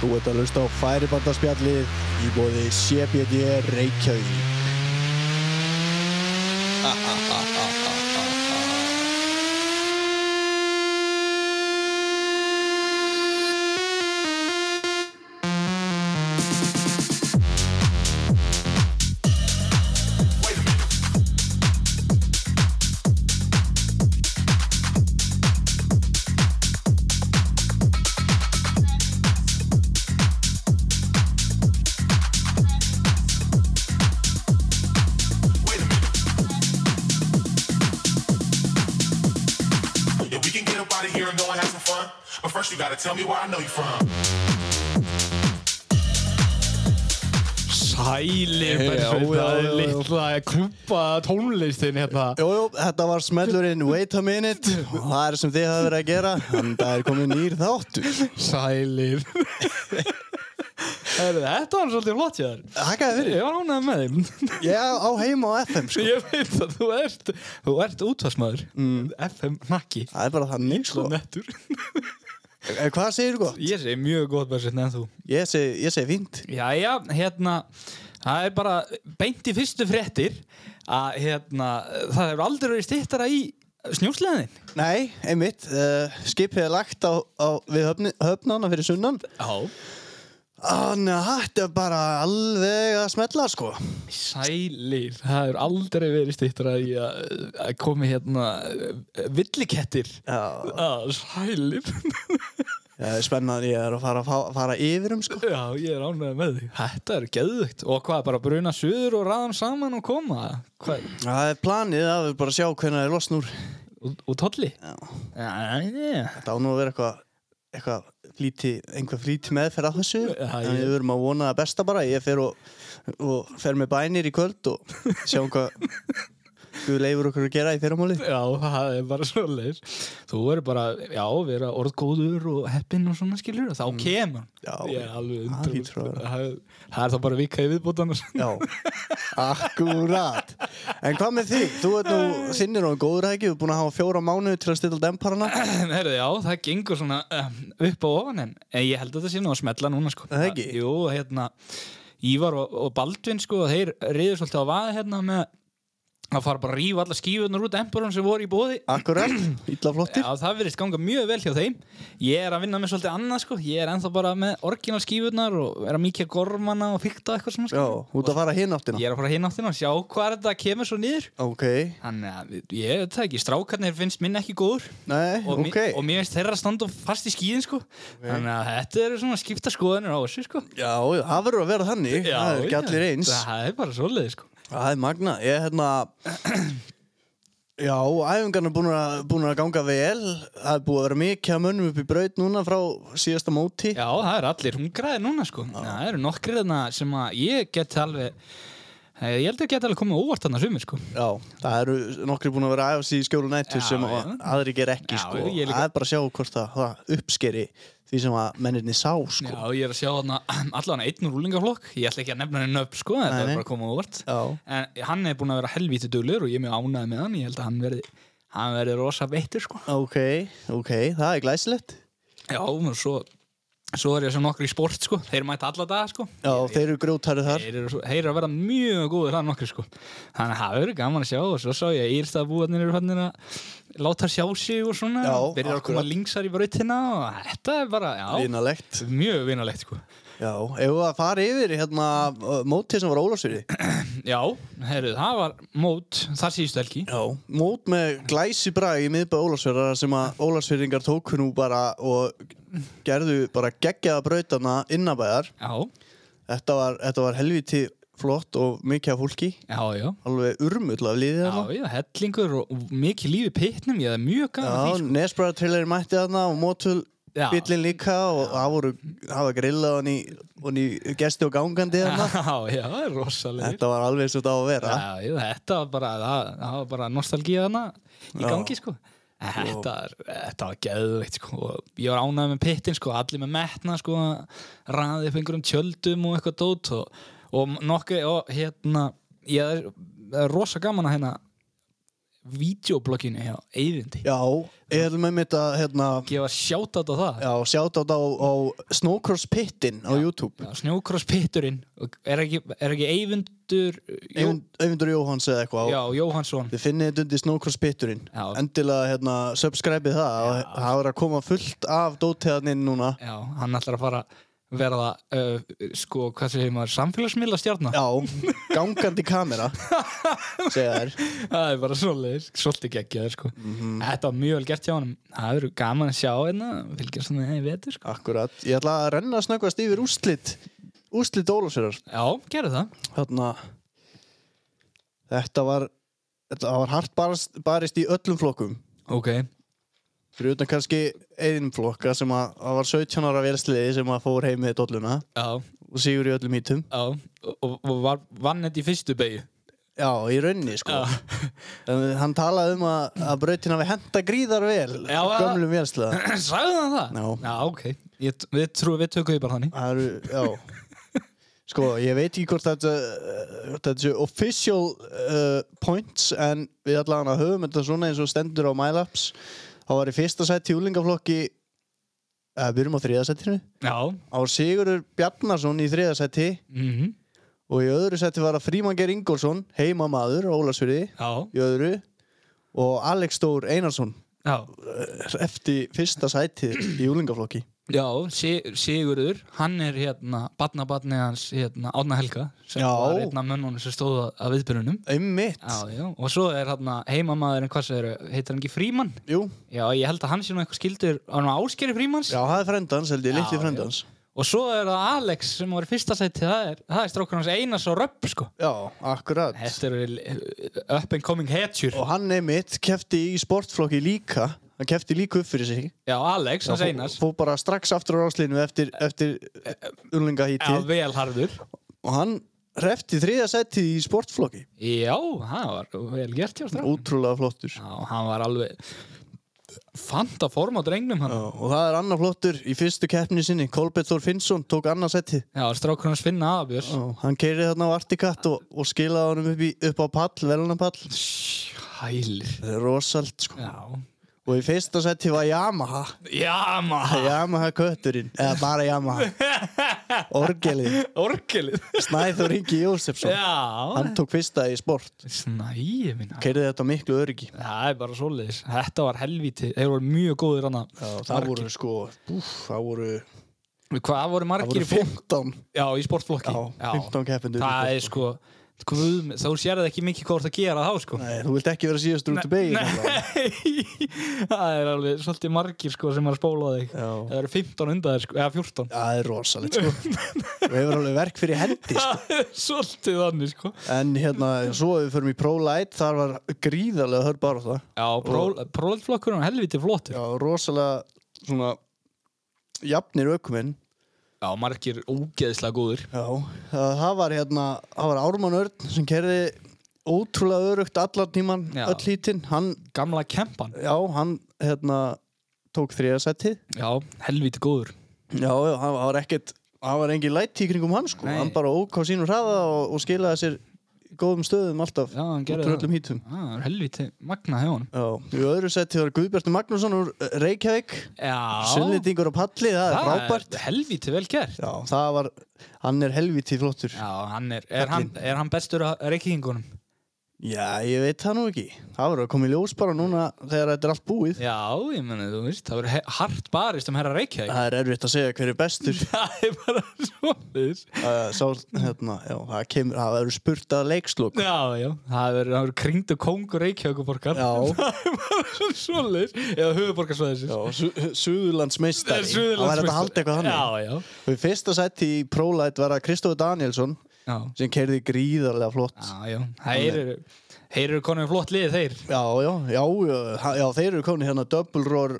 Þú ert að hlusta á færibandarspjallið í bóði CBD Reykjavík. If we can get up out of here and go and have some fun, but first you gotta tell me where I know you from. Sælir Já, Bergsteinn, já, það já, er já. litla klubba tónlistin hérna Jújú, þetta var smellurinn Wait a Minute og það er sem þið hafa verið að gera, en það er komið nýr þáttur. Sælir Heyrðu, Þetta var svolítið flott hjá þér Hækkaði fyrir. Ég var ánægð með þeim Ég á heima á FM, sko. Ég veit að þú ert, þú ert útvarsmaður FM nakki Það er bara þannig, sko. Mm. Svo nettur Eh, Hvað segir þú gott? Ég segi mjög gott Bergsteinn en þú Ég segi, ég segi fínt. Jæja, hérna Það er bara beint í fyrstu fréttir að hérna, það hefur aldrei verið stýttara í snjósleðin Nei, einmitt. Uh, skipið er lagt á, á, við höfni, höfnana fyrir sunnan. Já Þannig að þetta er bara alveg að smella, sko. Sælir, það er aldrei verið stýttra í að, að komi hérna eh, villikettir Já. ah, Sælir Það er spennan ég er að fara, fara, fara yfir um sko Já, ég er ánægð með því Þetta er geðvögt Og hvað, bara bruna suður og raðan saman og koma Hvað, Það er planið að við bara sjá hvernig það er losn úr og, og tolli? Já. Já, já Þetta á nú að vera eitthvað eitthvað flýti, einhver flýti meðferð að þessu Já, en ég- við verum að vona það besta bara ég fer og, og fer með bænir í kvöld og sjáum hvað Guð leifur okkur að gera í fyrramáli Já, það er bara svo leir Þú er bara, já, vera orðgóður og heppinn og svona skilur og þá kemur Já. Mm. Ég er alveg Það undur hlýtur að vera. það, það er þá bara vika í viðbútan Já, akkurat En hvað með þig? Þú ert nú þinnir og góður ekki, þú ert búin að hafa fjóra mánuði til að stilla demparana Herðu, já, það gengur svona um, upp á ofan en en ég held að þetta sé nú að smella núna sko. Það ekki? Jú, hérna Ívar og, og Baldvin sko, þeir reyður svolítið á vaði hérna með að fara bara að rífa alla skífunar út emperun sem voru í bóði Akkurat, illa flottir Já, það verðist ganga mjög vel hjá þeim Ég er að vinna með svolítið annað sko Ég er ennþá bara með orginal skífunar og er að mikið gormana og fykta eitthvað svona Já, hérna. sko. út að fara hinn áttina Ég er að fara hinn áttina og sjá hvað þetta kemur svo niður Ok, Þannig að við- ég veit það ekki, strákarnir finnst minn ekki góður nei, og, ok mér, og mér finnst þeirra standa fast í skíðin sko þannig að þetta eru svona skipta skoðanir á þessu sko Já, já, það verður að vera þannig, það er ekki allir eins það er bara svoleiði sko Það er magna, ég er hérna Já, æfingarna búin að, búin að ganga vel Það er búið að vera mikið að mönnum upp í braut núna frá síðasta móti já það eru allir hungraðir núna sko það eru nokkrir þarna sem að ég get alveg eh, ég held að geta alveg komið á óvart þarna sumir sko Já, það eru nokkri búin að vera að æfa sig í skjólu nættu Já, sem já. að aðri ger ekki Já, sko. ég líka. Það er bara að sjá hvort það, það uppskeri því sem að menninni sá sko. já ég er að sjá þarna allan einn rúlingaflokk ég ætla ekki að nefna henni upp sko þetta Nei, er nei. bara að koma á óvart Já. en hann er búin að vera helvíti duglur og ég er mjög ánæði með hann ég held að hann verði hann verði rosa beittur sko Ok, ok, það er glæsilegt já og svo svo er ég sem nokkur í sport sko þeir mæta alla daga sko Já, þeir eru grjótarið þar Þeir eru, svo- þeir eru að vera mjög góður það nokkri sko Þannig að það verður gaman að sjá og svo sá ég að Írstaðbúarnir eru hann að láta sjá sig og svona Já, Byrjar að koma akkurat. linksar í brautina og þetta er bara, já, Línalegt mjög vinalegt sko Já, ef við að fara yfir hérna uh, mótið sem var Ólafsfyrði Já, heyrðu, það var mót þar síðustu helgi Já, mót með glæsi brag í miðbæ Ólafsfjörðar sem að Ólafsfjörðingar tóku nú bara og gerðu bara geggjaða brautana innabæðar. Já, Þetta var, þetta var helviti flott og mikið af fólki, já, já alveg urmull af liðið Já, þarna. já, hellingur og og mikið lífi pittnum, ég það er mjög gaman að því Já, sko. Nesbræðar trillari mætti þarna og mótul Já. bíllinn líka og það voru, það var grillað hann í, hann í gesti og gangandi þarna. Já, já, það er rosalegir Þetta var alveg eins og þetta á að vera. Já, já, þetta var bara, það, það var bara nostalgíð hana í Já. gangi, sko. Þetta, er, þetta var geðveikt, sko. Og ég var ánægð með pittin, sko, allir með metna, sko, ræði upp einhverjum tjöldum og eitthvað dót og, og nokkuð, og hérna, ég það er rosa gaman að hérna videoblogginu hjá Eyvindi Já, ég er með mitt að hérna, gefa sjátat á það já, sjátt á á, á Snowcross Pittin á YouTube Já, Snjókross pitturinn Og er ekki, er ekki Eyvindur Jó, Eyvindur Jóhanns eða eitthvað já, á- Jóhansson Þið finnið þetta undir Snowcross Pitturinn Já. Endilega hérna, subscribe-ið það og Það er að koma fullt af dóteðaninn núna já, hann ætlar að fara að verða uh, sko, hvað segir maður, samfélagsmiðla stjarnar Já, gangandi kamera Segja þær það er bara svolítið, svolítið geggjaður sko. þetta var mjög vel gert hjá hann það eru gaman að sjá hérna fylgjast svona í vetur sko. Akkurat, ég ætla að renna að snöggvast yfir úrslit Úrslit Ólafsverðar já, gerðu það Þarna Þetta var Þetta var hart barist, barist í öllum flokkum ok, Fyrir utan kannski einn flokka sem að það var 17 ára velsliði sem að fór heim með dolluna já, og sigur í öllum hítum já og, og, og var, vann þetta í fyrstu beigju Já, í raunni sko En Hann talaði um að, að brautin hafi henda gríðar vel Já, að- Gömlum velsliða sagðu hann það? Já. ok, ég, t- við trúum við tökum því bara þannig Það eru, já Sko, ég veit ekki hvort þetta, eh, hvort þetta séu official uh, points en við allan að höfum þetta svona eins og stendur á MyLabs þá var í fyrsta sæti júlingaflokki eða við erum á þriða sætinu já, á Sigurður Bjarnason í þriða sæti mm og í öðru sæti var að Frímanger Ingolson heimamaður á Ólasfyrði já, í öðru og Alex Stór Einarsson já eftir fyrsta sæti í júlingaflokki já, Si- Sigurður hann er hérna, barnabarni hans hérna, Árna Helga sem Já. var einn af mönnunum sem stóð að- að viðbyrjunum Einmitt, Já, já, og svo er hann heimamaðurinn, hvað segir, heitir hann ekki Fríman? jú, Já, ég held að hann sé nú eitthvað skildur, hann var áskeri Frímans já, það er frendans held ég, Já, litli já. frendans og svo er það Alex sem var í fyrsta sæti, það er, það er strókur hans Einars og Röpp, sko. Já, akkurat Þetta eru eh, up and coming hetjur. Og hann einmitt kefti í sportflokki líka Hann kefti líka upp fyrir sig Já, Alex, hans Einars, Fó bara strax aftur á ráslinu eftir, eftir unlinga já, hítið velharður. Og hann refti þriða setti í sportflokki Já, það var vel gert hjá strókur. Útrúlega flottur Já, hann var alveg, fanta form á drengnum hann. Já, Og það er annar flottur í fyrstu keppni sinni Kolbett Þór Finnsson tók annað setti Já, strókur hans Finna Aðabjörs. Hann keiri þarna á Artikat og, og skilaði honum upp, í, upp á pall, velunapall Hælir. Það er rosalt sko Já, Og í fyrsta setti var Yamaha já maður, Yamaha kötturinn, eða bara Yamaha Orgelið orkelið. Snæður Ingi Jósefsson Já, Hann tók fyrsta í sport Snæi minna Keirði þetta á miklu öryggi Það er bara svoleiðis Þetta var helvíti, þeir voru mjög góðir hana Það voru sko búf, Það voru, Hvað voru það margir voru í fólk? 15 Já, í sportflokki Já, 15 keppendur í Það er sko Guð, þá sér það ekki mikið hvað það gera þá sko Nei, þú vilt ekki vera síðastur út í hérna. begin Það er alveg svolítið margir sko sem er að spóla á þig Já. Það eru 15 undan þér sko, eða 14 Það er rosalegt sko Við hefur alveg verk fyrir hendi sko. Það er svolítið þannig sko En hérna, svo ef við förum í Pro Light Þar var gríðarlega hörð bara það Já, próleitflokkur er helviti flottur Já, rosalega svona Jafnir aukuminn Já, margir ógeðslega góðir Já, það, það var hérna, það var Ármann Örn sem kerði ótrúlega örugt allar tíman, Já. öll hítinn, hann, Gamla kempan já, hann hérna tók þriðasættið, Já, helviti góður já, já, hann var ekkert, hann var engin læti í kringum hann sko, Nei. hann bara ók á sínum hraða og, og skilaði sér í góðum stöðum alltaf, Já, hann út gerði úr það. öllum hítum. Já, það er helviti Ah, magna hjá honum Já, í öðru setti var Guðbjartur Magnússon úr eh, Reykjavík, Já sunnlendingur á palli, það er Það er frábært. helvíti vel gert Já, það var, hann er helviti flottur. Já, hann er, er, hann, er hann bestur að reykingunum? Já, ég veit það nú ekki. Það verður að koma í ljós bara núna þegar þetta er allt búið. Já, ég meni, þú veist, það verður he- hart barist um herra reykjavík Það er erfitt að segja hver er bestur. Það er bara svoleiðis Uh, sá, hérna, já, það, kemur, það verður spurt að leikslokk. Já, já, það verður, það verður kringdu kongur reykjavíkuborgar Já. Það er bara svoleiðis eða höfuborgarsvæðisins Já, su Suðurlandsmeistari. Það var þetta að halda eitthvað þannig. Já, já, Og í fyrsta sett í Prolight var að Kristófi Danielsson já, sem keirði gríðarlega flott. já, já. Þeir eru, þeir eru konum flott lið þeir Já, já, já, já, ha- já þeir eru komin hérna Double Roar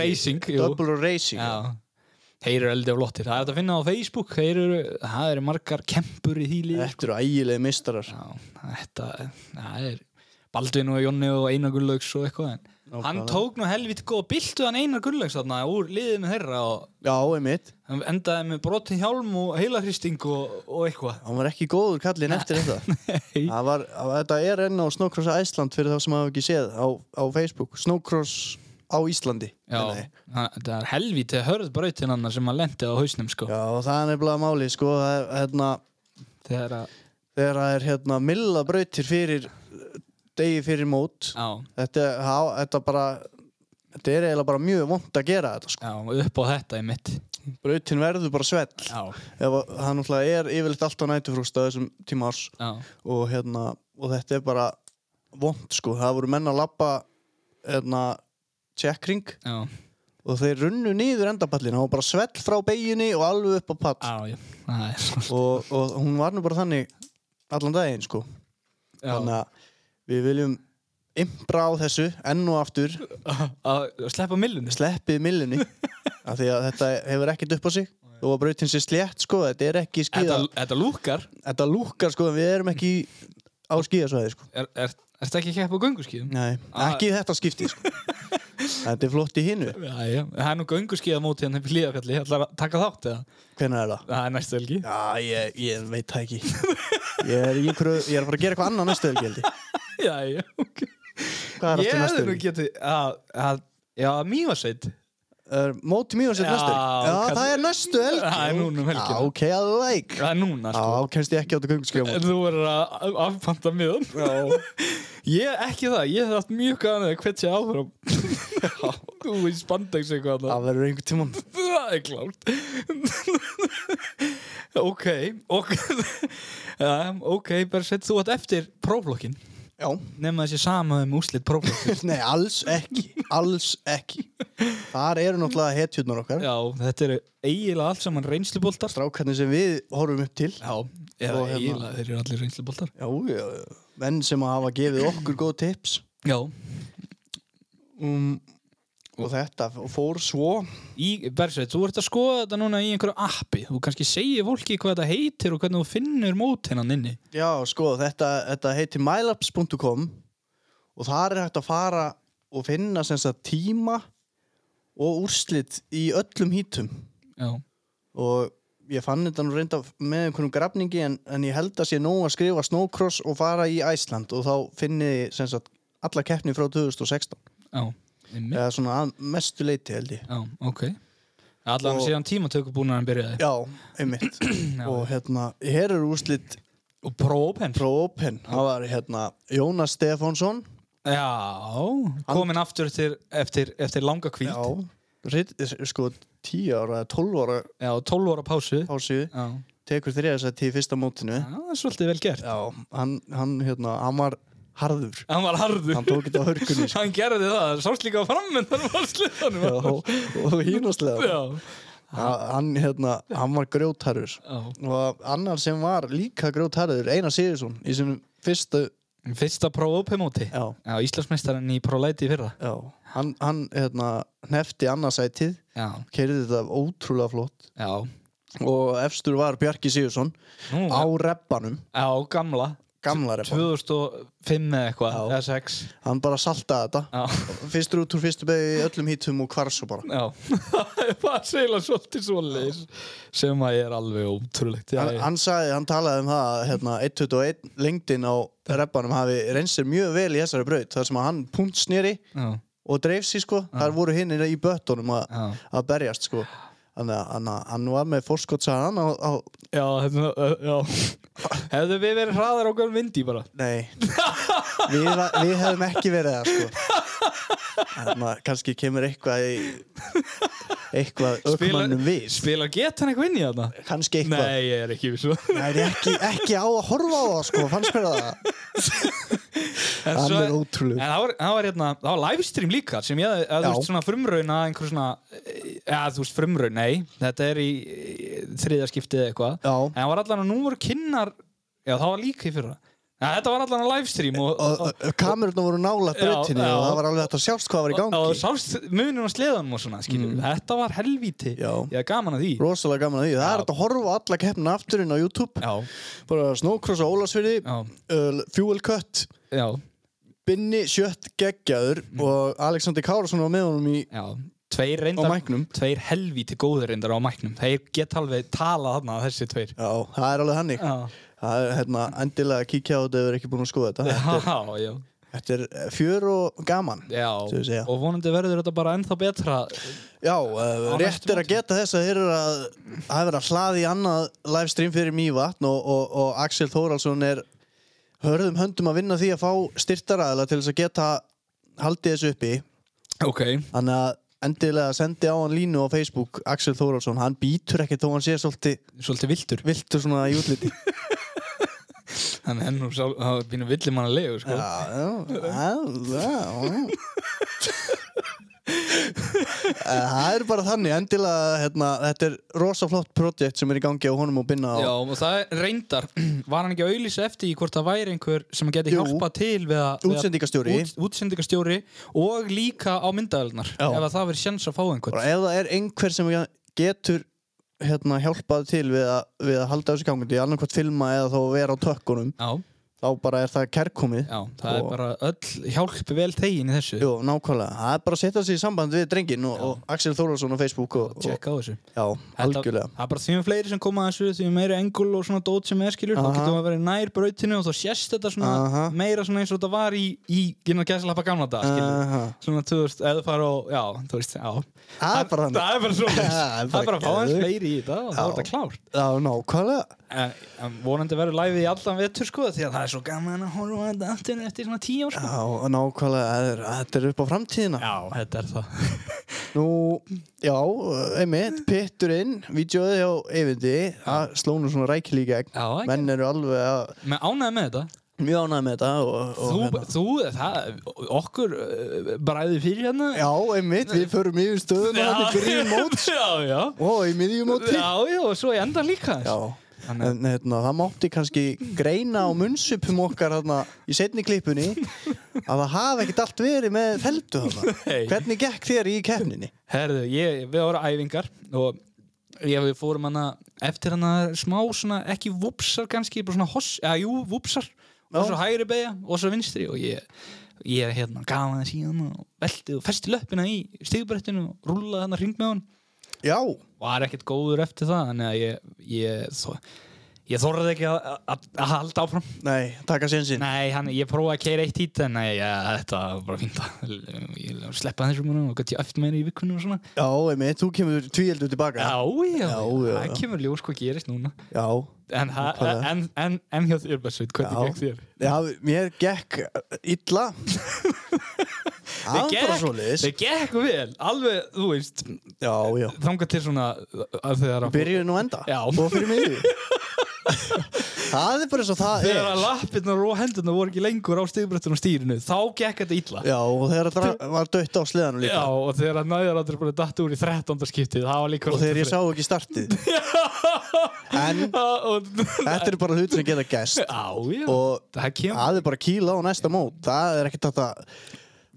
Racing, jú Double Roar Racing. Já, þeir eru eldi og flottir. Það er hægt að finna á Facebook, þeir eru, það eru margar kempur í því lífi. Þetta eru ægilegi mistarar. Já, þetta, það er Baldvin og Jónni og Einar Gullaugs og eitthvað, en Hann tók nú helviti góð biltu hann einar gullegs þarna úr liðinu þeirra og Já, einmitt hann endaði með brotin hjálm og heilahristing og, og eitthvað. Hann var ekki góður kallinn eftir þetta Það var, að- þetta er enn á Snowcross Æsland fyrir þá sem hafa ekki séð á, á Facebook Snowcross á Íslandi Já, meina ég. hann- það er helviti hörð brautin hann sem hann lendi á hausnum sko. Já, og það er nefnilega máli sko, það er- hérna, Þegar að, þegar það er hérna milla brautir fyrir degi fyrir mót já, þetta, há, þetta bara þetta er eiginlega bara mjög vond að gera þetta sko. já, upp á þetta í mitt. brautin verður bara svell Já, Ef að- það náttúrulega er yfirleitt allt á nætufrústa þessum tíma árs já, og, hérna, og þetta er bara vond sko, það voru menn að labba hérna tjekkring já, og þeir runnu niður endapallin það var bara svell frá beginni og alveg upp á pall já, já, það er svona. og, og hún var nú bara þannig allan daginn sko Já, þannig að við viljum imbra á þessu enn og aftur að að sleppa millunni. sleppið millunni af því að þetta hefur ekkert upp á sig þó að brautin sé slétt sko, þetta er ekki skíða Þetta, þetta, þetta lúkar, lúkar sko, en við erum ekki á skíðasvæði sko er, er, er þetta ekki kepp á gönguskíðum? Nei, Ah. ekki í þetta skipti sko. þetta er flott í hinu Já, já, það er nú gönguskíða móti hérna upp í hlíðafjalli, ég ætla að taka þátt eða? hvenær er það? Það er næstu helgi. Já, ég, ég veit það ekki ég er, ég, kröf, ég er að fara að gera eitthvað annað næstu helgi held ég. Já, já, ok. hvað er aftur Ég hefði næstu nú helgi? getið að, að, já, mývasveit Er Móti mjög sér Já, næstu helgi Já, kann- það er næstu helgi Það er núna um helgina. Já, ok, I like Það er núna, Já, sko kemst ég ekki á þetta göngskjöfum En þú verður að afpanta miðan Ég, ekki það, ég hef haft mjög gæðan eða hvert sé áfram Þú í spandex eitthvað annað Það verður einhvern tímann Það er klárt Ok, ok ja, Ok, bara sett þú átt eftir próflokkin Já, Nefna þessi sama um úslit próflokkin nei, alls ekki Alls ekki Þar eru náttúrulega hetjurnar okkar Já, þetta eru eiginlega allt saman reynsluboltar Strákarnir sem við horfum upp til Já, eða Og hérna- eiginlega, þeir eru allir reynsluboltar Já, já, menn sem hafa gefið okkur góð tips Já, um, Og þetta fór svo í Bersveit, þú ert að skoða þetta núna í einhverju appi þú kannski segir fólki hvað þetta heitir og hvernig þú finnur mótin hann inni Já, sko, þetta, þetta heitir mylabs.com Og þar er hægt að fara og finna sem sagt tíma og úrslit í öllum hítum já, og ég fann þetta nú reynda með einhvernum grafningi en, en ég held að sé nóg að skrifa snowcross og fara í Æsland og þá finni ég sem sagt alla keppni frá 2016 já, einmitt eða svona að mestu leiti held ég já, ok allan Og- síðan tímatöku búin að hann byrjaði Já, einmitt og hérna, hér eru úrslit og próben pro open, það var hérna Jónas Stefánsson já, komin aftur eftir, eftir, eftir langa kvíld já, ritt, sko 10 ára eða 12 ára já, 12 ára pásu já, pásu já tekur þriðarsætti í fyrsta mótinu það er svolítið vel gert Já, hann, hann hérna, hann var harður hann var harður, hann tók þetta á hörkunni sko. hann gerði það sást líka á frammyndan var sluðanum Já, sko, og, og hínastlega já, Ha- hann, hérna, hann var grjótarður já. og annar sem var líka grjótarður Einar Sigursson í sinum fyrstu fyrsta próben móti já, já, Íslandsmeistarinn í próleiti í fyrra já. hann, hann hérna, nefti annarsætið já, keirði þetta ótrúlega flott já og efstur var Bjarki Sigursson Nú, á reppanum, Já, gamla gamla reppanum 2005 eða eitthvað, Já. eða 6 hann bara saltaði þetta Já, fyrstur út úr fyrstu beigju í öllum hítum og kvarsu bara já Það er segla svolítið svoleiðis sem að er alveg ótrúlegt já, Hann, já. hann sagði, hann talaði um það að hérna, 1.21 lengdin á reppanum hafi reynsir mjög vel í þessari braut þar sem að hann puntsnýri já, og dreif sér sko, þar voru hinn í böttunum að já. að berjast sko Þannig að hann, hann var með fórskotsaðan á, á, já, hérna, ö, já. Hefðu við verið hraðar á gömum vindi bara Nei við, va- við hefum ekki verið það sko Þannig að kannski kemur eitthvað í, eitthvað ökmannum við sko. spila get hann eitthvað inn í þarna? Kannski eitthvað Nei, ég er ekki um vissu Nei, ég er ekki, ekki á að horfa á það sko, fannst mér það En Hann svo- er ótrúlegur. En það var, það var, hérna, það var livestream líka sem ég, að, Já. þú veist, svona frumrauna einhver svona, eða þú veist, frumraun, nei þetta er í e, þriðaskiptið eða eitthvað Já. en það var allan að nú voru kynnar já, það var líka í fyrra en þetta var allan að livestream og, Og og kamerunum voru nála brötinni Já, já. og það var alveg hægt að sjást hvað var í og, og gangi Mm. sást munum og sleðanum og svona, skiljum þetta var helvíti, Já. ég er gaman að því Rosalega gaman að því, það Já. er hægt að horfa á alla keppna afturinn á YouTube já, Bara Snowcross á Ólasfyrði, já, uh, Fuel Cut já Binni Sjött geggjaður Mm. og Alexander Kárasson var með honum í Já, tveir á reyndar mæknum Tveir helvíti góðir reyndar á mæknum Þeir geta alveg talað þarna þessi tveir Já, það er alveg hannig Já, Það er hérna endilega að kíkja á þetta ef þið er ekki búin að skoða þetta Þetta er, já, já, þetta er eh, fjör og gaman já. Svo ég segja. Og vonandi verður þetta bara ennþá betra Já, uh, Á rétt næstu er að móti. geta þess að þeir eru að hafa verið að hlaði í annað livestream fyrir Mývatn og, og, og Axel Þóraldsson er hörðum höndum að vinna því að fá styrtaraðila til þess að geta haldið þessu uppi Ok Þannig að endilega sendi á hann línu á Facebook Axel Þóraldsson, hann býtur ekki þó hann sé svolítið Svolítið viltur viltur svona í útliti Þannig henn og sá, það býnur villir mann að legu sko. Já, já, já, já, já. Eh, Það er bara þannig, endilega hérna, þetta er rosa flott projekt sem er í gangi á honum og binna á Já, og það er reyndar Var hann ekki að auðlýsa eftir í hvort það væri einhver sem geti Jú. hjálpað til við að við að- útsendingastjóri út, Útsendingastjóri og líka á myndaðelnar Já. Ef að það verið sjans að fá einhvern og ef það er einhver sem getur hérna, hjálpað til við að, við að halda þessu gangmyndi, annarkvæmt filma eða þá vera á tökkunum, Já, þá bara er það kærkomið já, það er Og- bara öll hjálp vel þegin í þessu Jú, nákvæmlega, það er bara að setja sig í samband við drengin og, Já. og Axel Þólarsson á Facebook og, og tjekka á þessu já, algjörlega Það er bara því með fleiri sem koma að þessu því meira engul og svona dót sem er skilur Aha. þá getum við að vera nær brautinu og þá sést þetta svona Aha. meira svona eins og þetta var í, í gynna gæslappa gamla dag skilur Aha. svona, þú veist, eða fara og, já, þú veist, já Það er bara þannig Það er bara svona Það er Það er bara að fá hans geðveikt. fleiri í þetta og þá Já. er þetta klárt Já, nákvæmlega En, en vonandi verður læfið í allan vetur sko því að það er svo gaman að horfa á þetta aftur eftir svona tíu ár sko Já, nákvæmlega, það er- þetta er upp á framtíðina Já, þetta er það Nú, já, einmitt, pitturinn, vídeoði hjá Eyvindi Það sló nú svona rækil í gegn Já, það er Menn eru alveg að Með ánægð með þetta mjög ánægð með þetta og, og Þú, hérna. þú, það, okkur uh, bræði fyrir hérna Já, einmitt, við förum yfir stöðum og hann í byrjum mót Já, já og í miðjum móti Já, já, og svo ég enda líka Já, Þannig að- en hérna, það mátti kannski greina á munnsupum okkar hérna í setni klippunni að það hafi ekkert allt verið með feldu hérna Nei. Hvernig gekk þér í keppninni? Herðu, ég, við vorum æfingar og ég, við fórum hana eftir hana smá svona, ekki vupsar kannski, bara svona hoss, eða jú, vupsar og Já. svo hægri beigja og svo vinstri og ég, ég hérna, gaf hana síðan og velti og festi löppina í stigubrettinu og rúlaði hana hring með hann Já, var ekkert góður eftir það þannig að ég, ég, þó, ég þorði ekki að, að, að halda áfram nei, taka sénsinn Nei, hann, ég prófaði að keira eitt hít en nei, ja, þetta var bara fínt að ég sleppa þessu múna og gæti eftir meira í vikunum og svona Já, einmitt, þú kemur tvíeldur tilbaka Já, já, Já, já, já. það kemur ljós hvað gerist núna Já, En, ha- Nákvæmlega. en, en, en hjá þér, Bessveit, Já. hvernig gekk þér? Já, mér gekk illa Það var bara svoleiðis það gekk vel, alveg, þú veist, Já, já þangað til svona að þegar að, Byrjun og enda Já. Og fyrir miðju Það er bara eins og það er þegar að lappirnar og hendurnar voru ekki lengur á stigbröttun og stýrinu, þá gekk þetta illa. Já, og þegar það dra- var dött á sleðanum líka og þegar að næðar aldrei bara datt úr í 13. skiptið, það var líka Og þegar ég sá ekki startið En Já, þetta er bara hlut sem geta gæst já, Og það kemur það er bara kíla á næsta mót Það er ekkert hægt að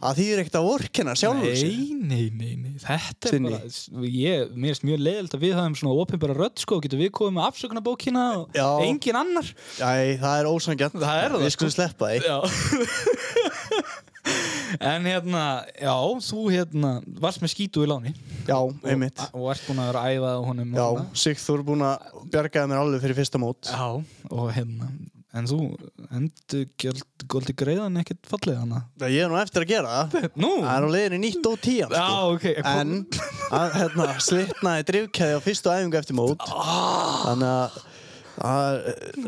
Það þýðir ekkert að vorkenna sjálfur sig Nei, nei, nei, nei, þetta er Stinni. bara ég, mér finnst mjög leiðilegt að við hafum svona opinbara rödd sko, getur við komið með afsökunarbókina og Já. engin annar Æ, það er ósangjant Það er það, Við skulum sleppa því Já En hérna, já, þú hérna varst með skítu í láni Já, einmitt og, og ert búin að vera að æfa á honum og Já, svona. Sigþór er búin að bjargaði mér alveg fyrir fyrsta mót já, og hérna En þú endur goldi greiðan ekkert fallið hana Það ég er nú eftir að gera það Nú, Það er á leiðinni nýtt og tían já, sko. ok En að, hérna, slitnaði drifkæði á fyrstu æfingu eftir mót Þannig að, að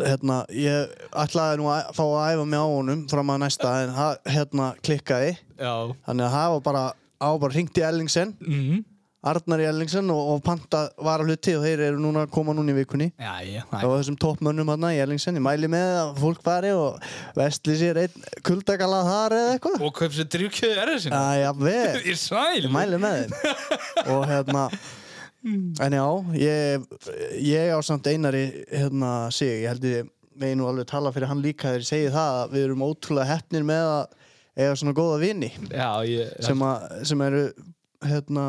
hérna, ég ætlaði nú að fá að æfa mig á honum fram að næsta en það hérna, klikkaði Já, Þannig að það var bara, á bara hringt í Ellingsen mhm Arnar í Ellingsen og, og panta var að hluti og þeir eru núna að koma núna í vikunni Já, já, Það var þessum toppmönnum hann í Erlingsen, ég mæli með að fólk fari og vestli sér einn kuldakalað þar eða eitthvað. Og hvað fyrir drjúkjöðu er þessin? Það er jafnveg, Í sæl ég mæli með þeim. Og hérna, en já, ég, ég á samt einari hérna sig, ég held ég megi nú alveg tala fyrir hann líka þegar ég segi það að við erum ótrúlega hefnir með að eiga svona góða vini Já, ég sem, að, sem eru hérna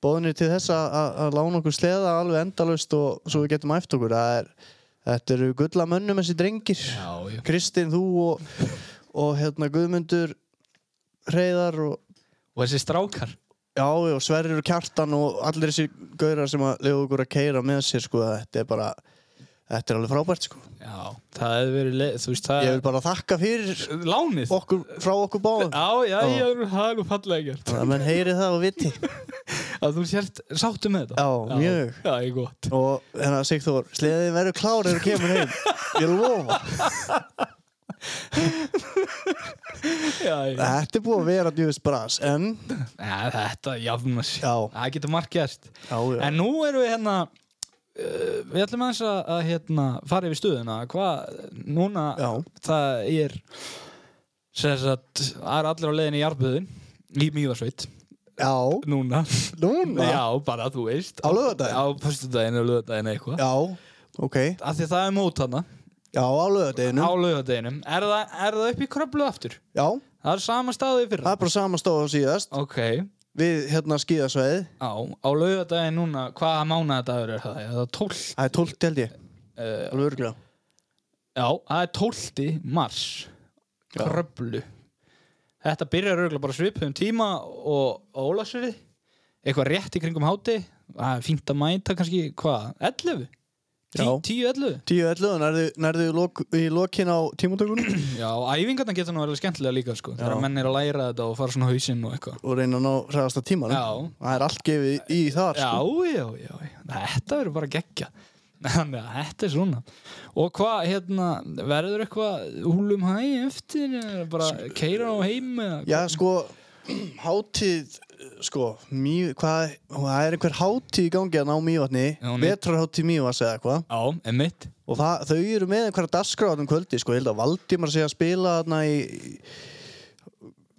bóðinir til þess að, að, að lána okkur sleða alveg endalaust og svo við getum æft okkur það er, þetta eru gulla mönnum þessi drengir Já, já Kristinn, þú og, og hérna Guðmundur Reyðar og og þessi strákar já, já, Sverrir og Kjartan og allir þessi gaurar sem að leiða okkur að keira með sér sko, þetta er bara þetta er alveg frábært sko já, það hefði verið leið, þú veist það ég vil bara þakka fyrir lánið okkur, frá okkur báðum já, já, já, það er nú fallega gert að menn heyri það og viti að þú sért sáttu með þetta Já, mjög. já, ég gott og hérna Sigþór, sleðið verður klár þegar þú kemur heim ég lofa já, ég, þetta er búið að vera djúvist bras en ja, þetta jafnum að Já. það getur margt gert já, já. en nú erum við hérna uh, við ætlum aðeins að, að hérna, fara yfir stöðuna hvað, núna Já. það er sem sagt, það er allir á leiðin í Jarbuðin í Mývarsveit já, núna núna já, já, bara þú veist Á laugardaginn? á föstudaginn og lögadaginn eitthvað ok af því að það er mót hana já, á lögadeginu á lögadeginum er, það- er það upp í kröflu aftur? já, það er sama staðið fyrir það er bara sama stóð og síðast ok, við hérna skíðasveið á, á lögadaginn núna hvaða mánadagur er það? Er það 12? það er 12 held ég Uh, alveg örgulega já, það er 12. mars Já. kröflu þetta byrjar örgulega bara svipum tíma og ólagsverði eitthvað rétt í kringum háti það er fínt að mæta kannski, hvað, 11? Já. 10-11? 10-11, nærðu, nærðu í lok, í lokin á tímatökunum Já, æfingarna getur nú verið skemmtilega líka sko. Já. þegar menn er að læra þetta og fara svona á hausinn og eitthvað og reyna að ná hraðasta tímanum Já. það er allt gefið í þar Já, sko. já, já, já. þetta verður bara geggja Þannig að þetta er svona Og hvað, hérna, verður eitthvað húlum hæ eftir eða bara keira á heim eða Sko, já, sko hátíð sko, mý, hvað, það er einhver hátíð í gangi að ná mývatni Já, hún er- vetrarhátíð mývats eða eitthvað Já, emitt og það, þau eru með einhverja dagskráðum kvöldi sko, ég held að Valdimar sé að spila þarna í í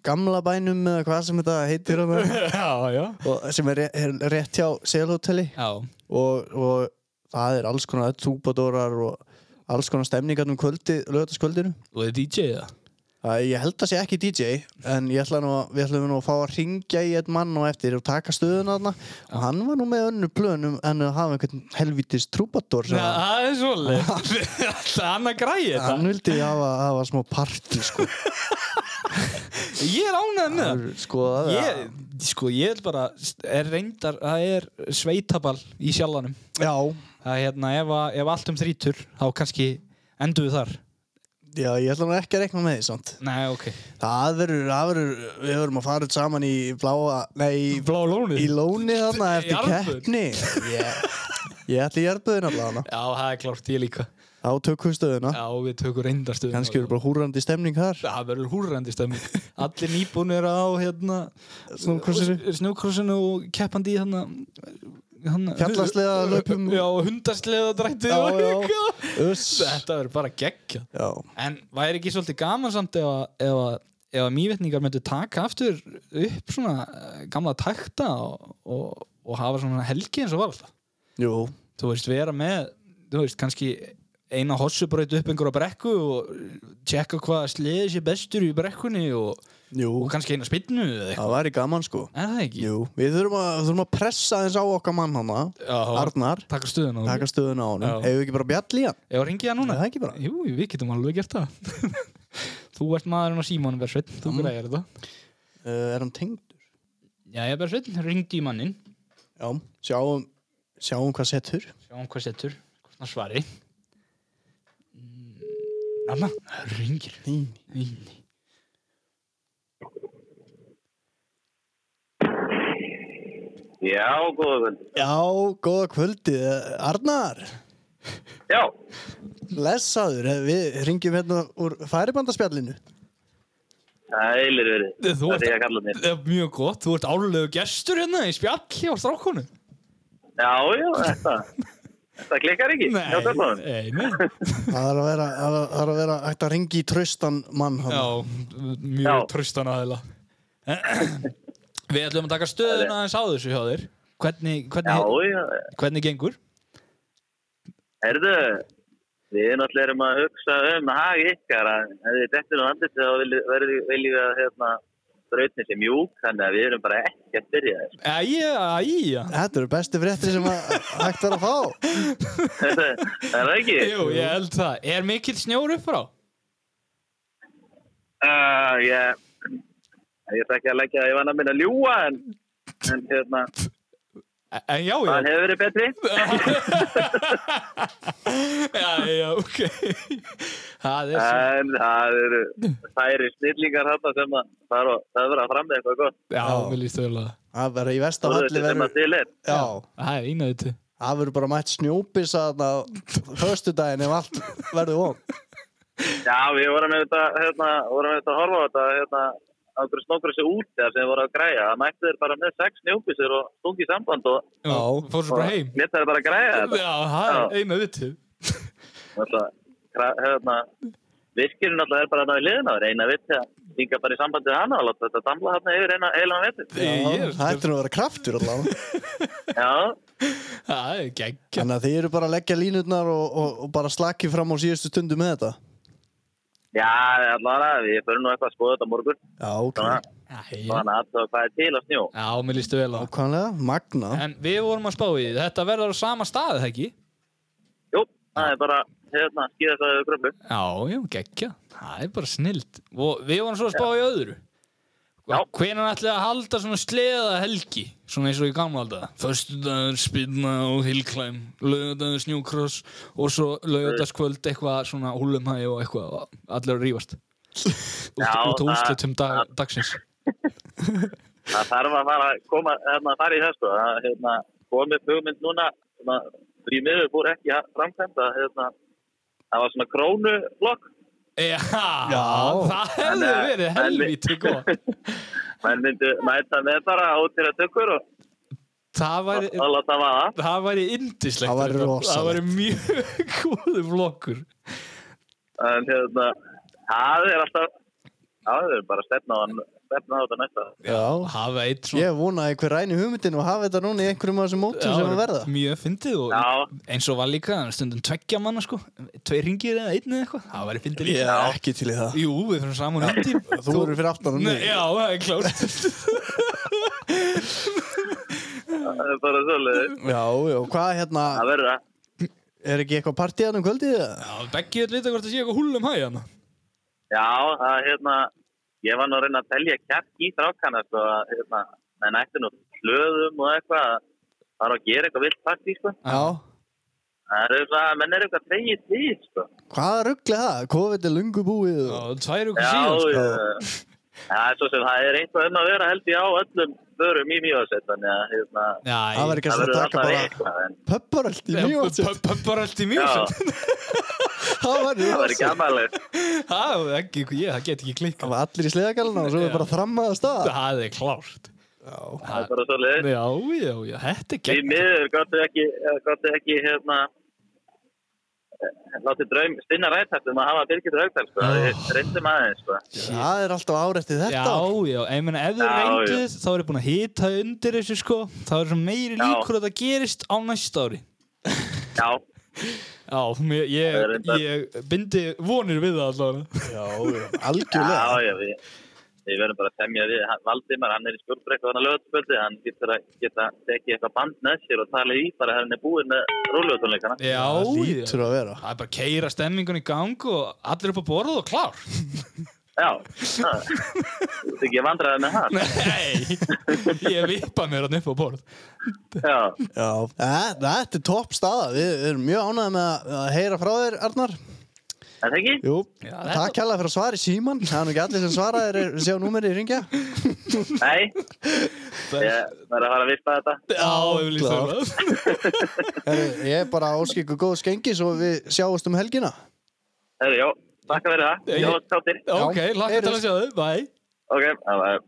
gamla bænum eða hvað sem þetta heitir hana, Já, já og sem er, ré- er rétt hjá selhotelli Já, og, og það er alls konar túbadórar og alls konar stemningar um kvöldi, lögataskvöldinu og þið DJ það Það, ég held að sé ekki DJ en ég ætla nú að, við ætlum nú að fá að ringja í einn mann og eftir og taka stöðuna þarna og hann var nú með önnu plönum en að hafa einhvern helvitis trúbadór sem Já, að- það er svolít Það er annað græði hann þetta vildi hafa, hafa smá partí sko Ég er ánægð með það Alvöru, sko, það er Ég, sko, ég vil bara er reyndar, það er sveitaball í sjálfanum Já, Það er hérna, ef, að- ef allt um þrítur þá kannski endum við þar já, ég ætla nú ekki að rekna með því samt Nei, ok Það verður, það verður, við verðum að fara út saman í bláa, nei, í, Blá lónið í lóni þarna Í eftir jarðböð. keppni Ég, ég ætla í jarðböðin allavega Já, það er klárt, ég líka Þá tökum við stöðuna, Já, við tökum reyndarstöðum Ah. kannski verður bara húrandi stemning þar Það verður húrrandi stemmi Allir nýbúnir á hérna Snúkrossinu. Snúkrossinu og keppandi í hérna hérna- Fjallasleða hlaupum. Já, hundaslega drættið Já, og já. eitthvað. Uss Þetta verður bara geggja Já, En væri ekki svolítið gaman samt ef að, ef að, ef að mývetningar myndu taka aftur upp svona eh, gamla takta og, og, og hafa svona helgi eins og var alltaf jú, þú veist, vera með þú veist, kannski eina hossubraut upp einhverja brekku og tjekka hvað sleði sé bestur í brekkunni og, jú og kannski eina spinnu eða eitthvað, Það væri gaman sko er það ekki? Jú, við þurfum að, þurfum að pressa þess á okkar mann hana Já, Arnar, taka stöðuna taka stöðuna á Já. honum Hefur við ekki bara bjall í hann? Ef að ringi það núna? Er það ekki bara? Jú, jú, við getum alveg gert það Þú ert maðurinn á símanum, Bersveinn Þú greiðir þetta Uh, er hann tengd? Já, ég Bersveinn, ringdi í mannin Já, sjáum, sjáum hvað setur Sjáum hvað setur, hvort hann svari Anna, það ringir Nei, Inni. Já, góða völd. Já, góða kvöldið. Arnar, Já, lesaður, við ringjum hérna úr færibandaspjallinu. það er eilir verið. Þú það ert- er ég að kalla mér. Það er mjög gott, þú ert álulegu gestur hérna í spjall hjá strákonu Já, já, þetta. þetta klikkar ekki. Nei, Já, þetta er nei, nei. Það þarf að vera, það þarf að vera hægt að ringi í traustan mann hann. Já, Já. mjög tröstan aðeila Við ætlum að taka stöðuna aðeins á þessu hjá þér Hvernig, hvernig, Já, já. hvernig gengur? Herðu, við náttúrulega erum að hugsa um hag ykkar að ef þið dettur um andlið þá viljum- verði- viljum við að hérna brautin sem mjúk, þannig að við erum bara ekki að byrja þessu. Æja, æja Þetta eru bestu fréttir sem að hægt er að fá. Það er það ekki? Jú, ég held það Er mikill snjór upp frá? Uh, ég, ég ætla ekki að leggja í vanna minna að ljúa en, en hérna, En já, já. það hefur verið betri. já, já, ok Það er svo En það eru færi snillingar þarna sem að það eru- það verður að framlega eitthvað gott. Já, mér líst vel að Það verður í vest á Það er halli þetta sem verður að til er. Já, Það er eina þetta það verður bara mætt snjópis að höstudaginn ef allt verður von Já, við vorum auðvitað, hérna, vorum auðvitað að horfa á þetta, hérna, á einhverju snókrisi út þegar sem voru að græja. Það mættu þeir bara með sex snjópisir og stungi samband og, Já. Fór svo og bara heim létt þeir bara að græja þetta. Já, það er eina þetta Þetta, kra- hérna, virkirinn náttúrulega er bara að ná í liðina, það er eina vitt að hinga bara í sambandið hana og láta þetta damla hérna yfir eina eilan vettur. Já, Ég er Það ættir nú að vera kraftur allavega Já, Það er geggja Þannig að þið eru bara að leggja línurnar og, og, og bara slakið fram á síðustu stundu með þetta já, allavega, við förum nú eitthvað að skoða þetta á morgun, Já, ok Svona. Já, þannig að það hvað er til að snjó. já mér líst vel að Ákvæmlega, magna En við vorum að spá í því, þetta verður á sama staði, það ekki? Jú, það er bara, hérna, skýðast að gröflu. Já, já, geggja Það er bara snild Og við vorum svo að spá í öðru Já. Hvenær ætli að halda svona sleða helgi Svona eins og í gamla alltaf Föstudagur, spilna og hillklæm Laugadagur, snjúkross Og svo laugadagskvöld eitthvað svona húlumhæ og eitthvað og Allir að rífast Út Já, út á það- úrslutum dag, dagsins það þarf að fara að koma hérna, fara í það sko að hérna, komið hugmynd núna svona, því miður fór ekki að framkvæmda hérna, það var svona krónublokk Já, Já. það hefði En, eh, verið en við- helviti góð menn myndu mæta með bara átir að tökur og Það og- væri, og láta maða það væri indislegt Það væri rosalegt. Það væri mjög góðu flokkur en hérna, það er alltaf það er bara stefna á, stefna á þetta næsta Já, Hafa eitt svona ég vona að einhver ræni hugmyndin og hafa þetta núna í einhverjum af þessum mótum sem að verða mjög fyndið og Já. eins og var líka stundum tveggja manna sko tvei ringir eða einn eða eitthvað það væri fyndið líka Ég er ekki til í það Jú, við fyrir saman hindi Þú eru fyrir aftan um mig Já, það er klárt það er bara svolítið Já, já, hvað hérna, það verður að er ekki eitthvað partíðan um kvöldið? eða? Já, beggi er litið hvort það sé eitthvað um húlum hæg hana já, það er hérna ég var nú að reyna að telja kjark í þrákana sko að hérna, menn ætti nú hlöðum og eitthvað að fara að gera eitthvað vilt partí sko Já, Það eru svona, menn eru eitthvað tegið því, sko. hvað rugglega það? COVID er lungu búið Já, og... tvær okkur Já, síðan sko. já. Það er svo sem það er einhvað um að vera held ég á öllum förum í mjögarsett, þannig að hérna, Já, Það var ekki það að verður taka alltaf bara eitthvað. En, pöpparöld í mjög Pöppar allt í já, mjög Það var það verður mjög gammalegt. Það var ekki, ég, það get ekki klikka Það var allir í sleðagalina og svo er Já. bara þrammaða stað Það er klárt Já, Það er bara svo leið. Já, já, já, þetta er Því gegn miður gottu ekki, gottu ekki, hérna, eh, látið draum, stinna rættast um að hafa Birgit Raugdal, sko. Já. Við reyndum aðeins, sko. það er alltaf árettið Já, þetta já, ég meina ef þið Já, reyndu já. þá er ég búin að hita undir þessu sko þá er svo meiri Já. líkur að það gerist á næsta ári Já, Já, mér, ég, Það er reyndar- ég bindi vonir við það allavega Já, já, algjörlega já, við... Við verðum bara að semja við Hann- Valdimar, hann er í skjórnbrekku hann er lögspöldi, hann getur að geta tekið eitthvað band með sér og tala í bara ef hann er búinn með rúljóðtónleikana. Það Já, já. lítur að vera það er bara að keira stemmingun í gang og allir upp á borð og klár Já, það Þú ert ekki vandræði með hann. Nei, ég vipa mér hann upp á borð Já, Já, Þa- þetta er topp staða Við við erum mjög ánægð með að- að heyra frá þér, Arnar er það ekki? Jú, Já, þetta- takk hérlega fyrir að svara í síman Það er nú ekki allir sem svara þeir sjá númerið í ringja Nei, ég verður að fara að vispa þetta. Já, ég vil í klár. það Herru, Ég er bara áskik og góð skengis og við sjáumst um helgina Herru, já, takk fyrir það. Ég- Ég hótt þáttir. Ok, Já, lakka til að heyrðist. sjá þau, bæ Ok, það var...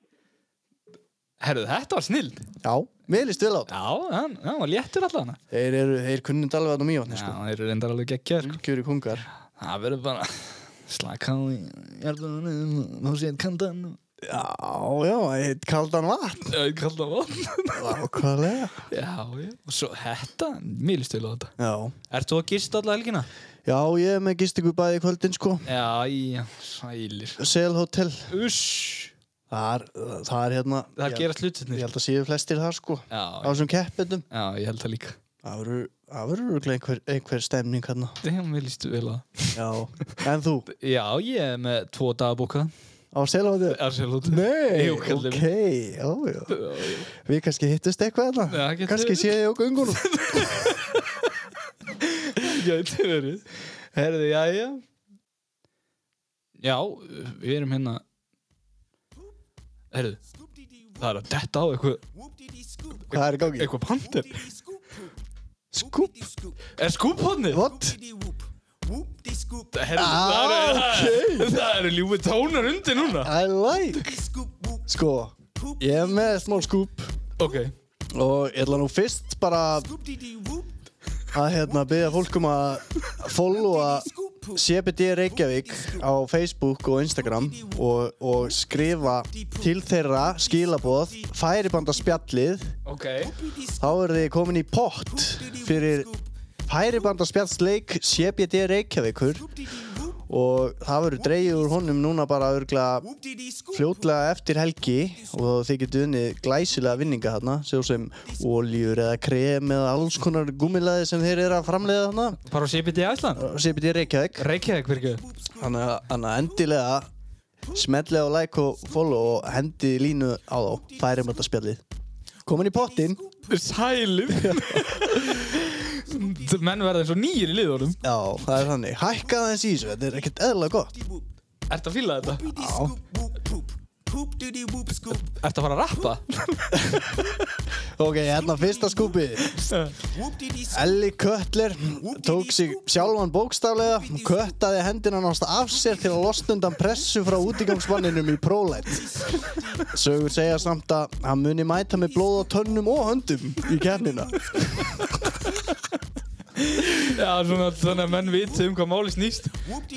Herðu, þetta var snild Já, Já, mér líst vel á þetta hann, hann var léttur allavega Þeir eru, þeir kunnund alveg um að nú mjög Já, þeir eru reyndar alveg geggjær sko. Kjöri kungar Það verður bara slaka á í hjartunum og séð kandan Já, já, eitt kaldan vatn og kalla vann Ákvæðlega Já, já, og svo þetta, mér líst til á þetta Já, Ert þú að gista alla helgina? já, ég er með gistingu bæði í kvöldin sko Já, já, sælir Sail Hotel Uss, Það er, það er hérna það ég- gerast Ég hlutinir held að séu flestir þar sko Á Já, þessum keppindum já, ég held það líka Það verður- það verður örugglega einhver, einhver stemning hérna Þegar mér líst vel á það Já, en þú? Já, ég er með tvo daga bókað á selváðu Absolutt Nei, Jú, kallum ok, já, já Við kannski hittust eitthvað hérna. Já, þarna getur Kannski verið. sé ég á göngunum Gæti verið Herði, jæja Já, við erum hérna Herði Það er að detta á eitthvað Hvað er í gangi? Eitthvað pandir Skúp Er skúphóðnið? What? Herði, Ah, það eru okay. Það eru ljúfi tónar undir núna I like Sko, ég er með smá skúp Ok Og ég ætla nú fyrst bara að hérna byggja fólkum að followa CBD Reykjavík á Facebook og Instagram og, og skrifa til þeirra skilaboð færibanda spjallið Ok þá eru þið komin í pott fyrir færibanda spjallsleik CBD Reykjavíkur og það verður dreigið úr honum núna bara örgla fljótlega eftir helgi og þið getur unnið glæsilega vinninga þarna svo sem oljur eða krem eða alls konar gúmilaði sem þeir eru að framleiða þarna Bara á CBD Æsland og sér betið Reykjavík Reykjavík virkið þannig að- þannig að endilega smetlega og like og follow og hendi línu á þá færum þetta spjallið komin í pottin Sælum Menn verða eins og nýjir í liðunum já það er þannig hækkaði eins í þessu þetta er ekkert eðla gott Ertu að fíla þetta? Scoop, Ertu að fara að rappa? ok hérna fyrsta skúpið Ellie Cutler tók sig sjálfan bókstaflega og köttaði hendina nást af sér til að losna undan pressu frá útigangsmanninum í Prolight. Sögur segja samt að hann muni mæta með blóð á tönnum og höndum í kefnina. Já, svona þannig að menn viti um hvað máli snýst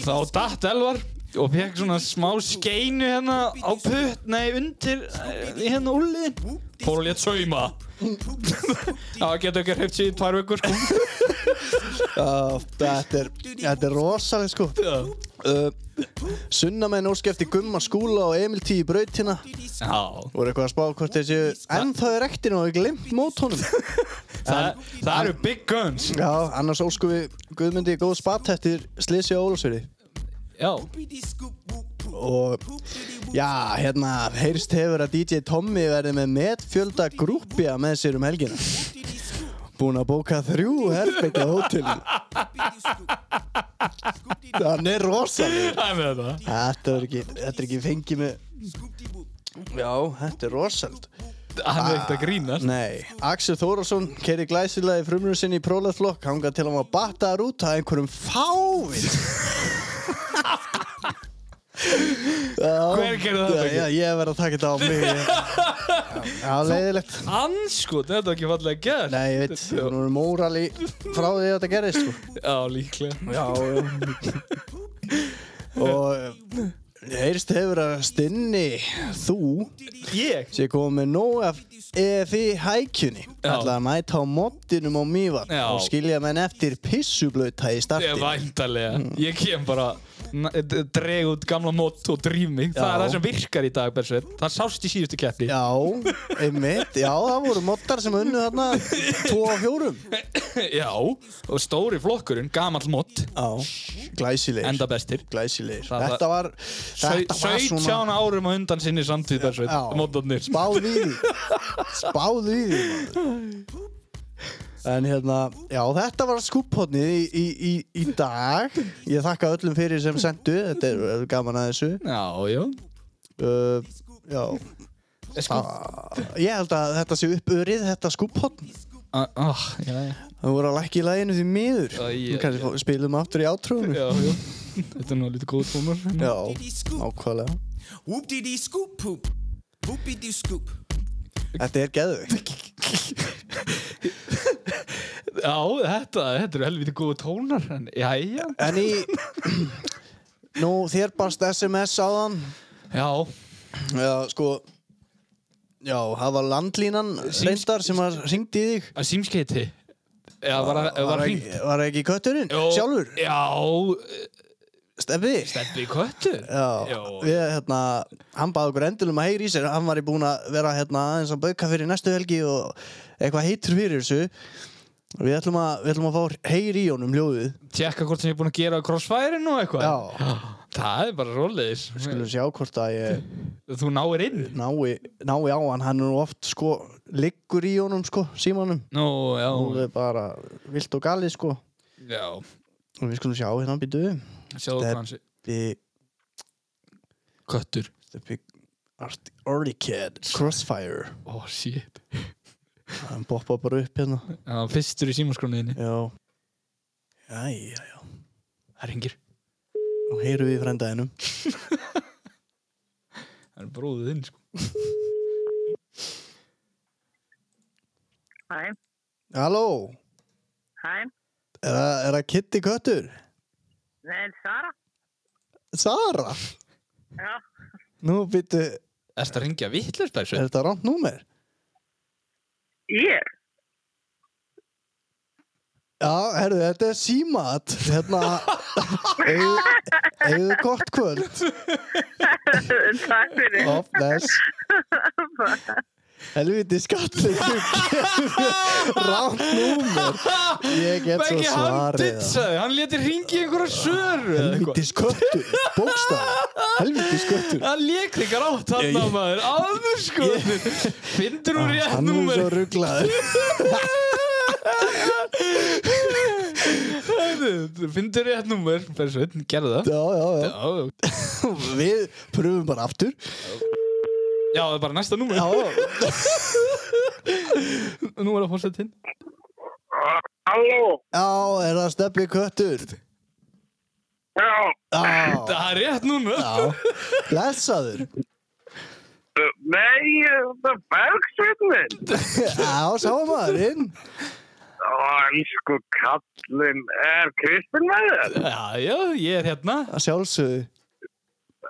Þá datt Elvar og fekk svona smá skeinu hérna á putt, nei, undir eh, í hérna úrliðin Fór og létt sauma Já, getur ekki hreift sér í tvær vekur sko Uh, þetta er, þetta er rosalega sko. Uh, Sunnamenn óski eftir Gumma Skúla og Emil T. í brautina. Já, Voru eitthvað að spá hvort þessi ennþá er rektinu og við glimt mót honum. það, það eru big guns Já, annars ósku við Guðmundi góð spatt eftir Slysi og Ólafsfjörði. Já, og já, hérna, heyrst hefur að DJ Tommy verði með metfjölda grúppja með sér um helgina. Búinn að bóka þrjú herbyggja hótelum. Hann er rosalegur. það er með þetta Þetta er ekki, þetta er ekki fengið með... Já, þetta er rosald. Hann er ekkert að grínast Ah. Nei, Axel Þórasson keiri glæsilega í frumrun sinni í prólaðflokk, hangað til hann var battaðar út að einhverjum fávið. Hver gerði Já, þetta ekki? já, ég verði að taka þetta á mig. Já, já leiðilegt. Anskot, sko, þetta er ekki fallega gert Nei, ég veit, nú er mórali frá því að þetta gerist, sko. Já, líklega Já, já. Og eh, heyrst hefur að stinni þú Ég? sé komið með nóg af EFI hækjunni. Já. Ætlaði að mæta á moddinum á Mývar Já. og skilja menn eftir pissublauta í Ég starti. væntalega, Mm. ég kem bara na- d- dreg út gamla mót og drým mig Það Já. er það sem virkar í dag, Bersveit Það sást í síðustu keppni Já, einmitt, já, það voru moddar sem unnu þarna 2 og 4. Já, og stóri flokkurinn, gamall mót Já, glæsilegir. Enda bestir glæsilegir. Það- Þetta var, Sau- þetta var 17 svona árum á undan sinni samtíð, Bersveit Já. Mótarnir spáð í því, spáð í því. maður. En hérna, já þetta var skúphotnið í, í, í, í dag. Ég þakka öllum fyrir sem sendu, þetta er, er gaman að þessu. Já, já Uh, já, Sko, ég held að þetta sé uppurið, þetta skúphotn. ah, ah, já, já, Það voru að lækka í læginu því miður. Æ, Æ, já, kannski fá- spilum aftur í átrúinu. já, já Þetta er nú lítið góð tómur Já, Oh. nákvæmlega. whoop dee dee scoop poop, whoop dee scoop. Þetta er geðveikt. Já, þetta, þetta eru helviti góð tónar en, Jæja En í, nú þér barst SMS áðan. Já, Já, sko Já, það var landlínan reyndar sem var ringt í þig að símskeiti Já, var, var, var hringt ekki, var ekki kötturinn? Jó, Sjálfur? Já, Steppi? Steppi Köttur? Já, við, hérna, hann baði okkur endilum að heyri í sér Hann var í búin að vera hérna aðeins að bauka fyrir næstu helgi og eitthvað heitur fyrir þessu Við ætlum að, við ætlum að fá heyri í honum hljóðið Tjekka hvort sem ég er búinn að gera á crossfire-inu og eitthvað? Já, Það er bara rólegis. Skulum sjá hvort að ég Þú náir inn. nái, nái á hann, hann er nú oft sko, liggur í honum sko, símanum. Nú, já. Hún er bara vilt og galið sko. Já. Og við skulum sjá hérna býtu. Sjáðu Þetta hvað er- hans er. The, Köttur. the big art, early kid, crossfire. Ó, shit. Hann poppa bara upp hérna. Já, fyrstur í símaskróniðinni. Já. Jæja, já. Það ringir. Nú heyrum við í frændaðinum. Það er bróðið inn, sko. Hæ, Halló, hæ, er það- er það Kitty Köttur? nei, Sara, Sara? já, Nú býtu, Er þetta að ringja vittlust þessu? er þetta rámt númer? ég, Já, herru, þetta er símat Hérna eigðu- Eigðu gott kvöld takk fyrir, Of bless Helviti skallið Rátt númer Ég get svo Beggi, hann svarið það. ditsaði, hann leti ringi einhverja söru eða eitthvað. Helviti sköttur Bókstaf Helviti sköttur Hann lék þig rátt hann á maður, áður sko Findur hún rétt Ah, Hann er númer svo rugglaður Findur rétt númer, Bersveit, gerðu það Já, já, já Já, Við pröfum bara aftur já, það er bara næsta númer Já, Nú er það fórsetinn Halló, já, er það steppi köttur já, Já, Það er rétt númer já Blessaður nei, það er bergsveitnin. Já, sá maður inn Ænsku kallinn, er Kristinn með þér? Já, já, ég er hérna Að sjálfsögðu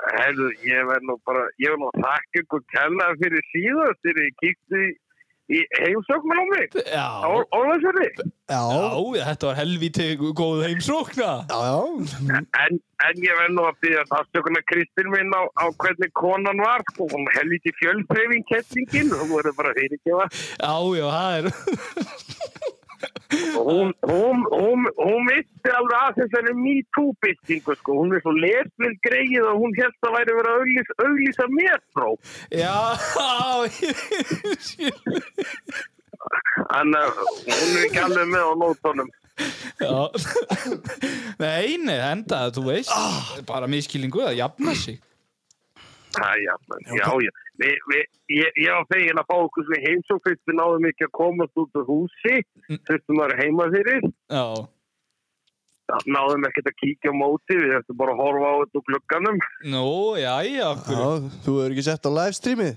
Herðu, ég verð nú bara, ég verð nú að þakka ykkur kærlega fyrir síðast þegar ég kíkti í, í heimsóknum á mig. Já, Ólagsverði. Já, já, þetta var helvíti góð heimsókna já, já En, en ég verð nú að byggja afsökunar Kristinn minn á, á hvernig konan var, sko, hún helviti fjölbreyfing kettingin, hún voru bara fyrirgefa. Já, já, það er Og Hún, hún, hún, hún misti alveg að þessari MeToo-byltingu, sko, hún er svo lesvild greið og hún held að væri verið að auglýsa, auglýsa mér, sko. frá. Já, ég skil En uh, hún er ekki alveg með á nótunum. Já Nei, nei, enda, þú veist Bara miskilningu að jafna sig Æja, já, já. Vi, vi, ég, ég var fegin að fá okkur sem heimsók fyrst við náðum ekki að komast út úr húsi, fyrst við varum heima fyrir. Já, náðum ekkert að kíkja á móti við ættum bara að horfa á þetta úr glugganum nú, já, já, Já, af hverju þú hefur ekki sett á livestreami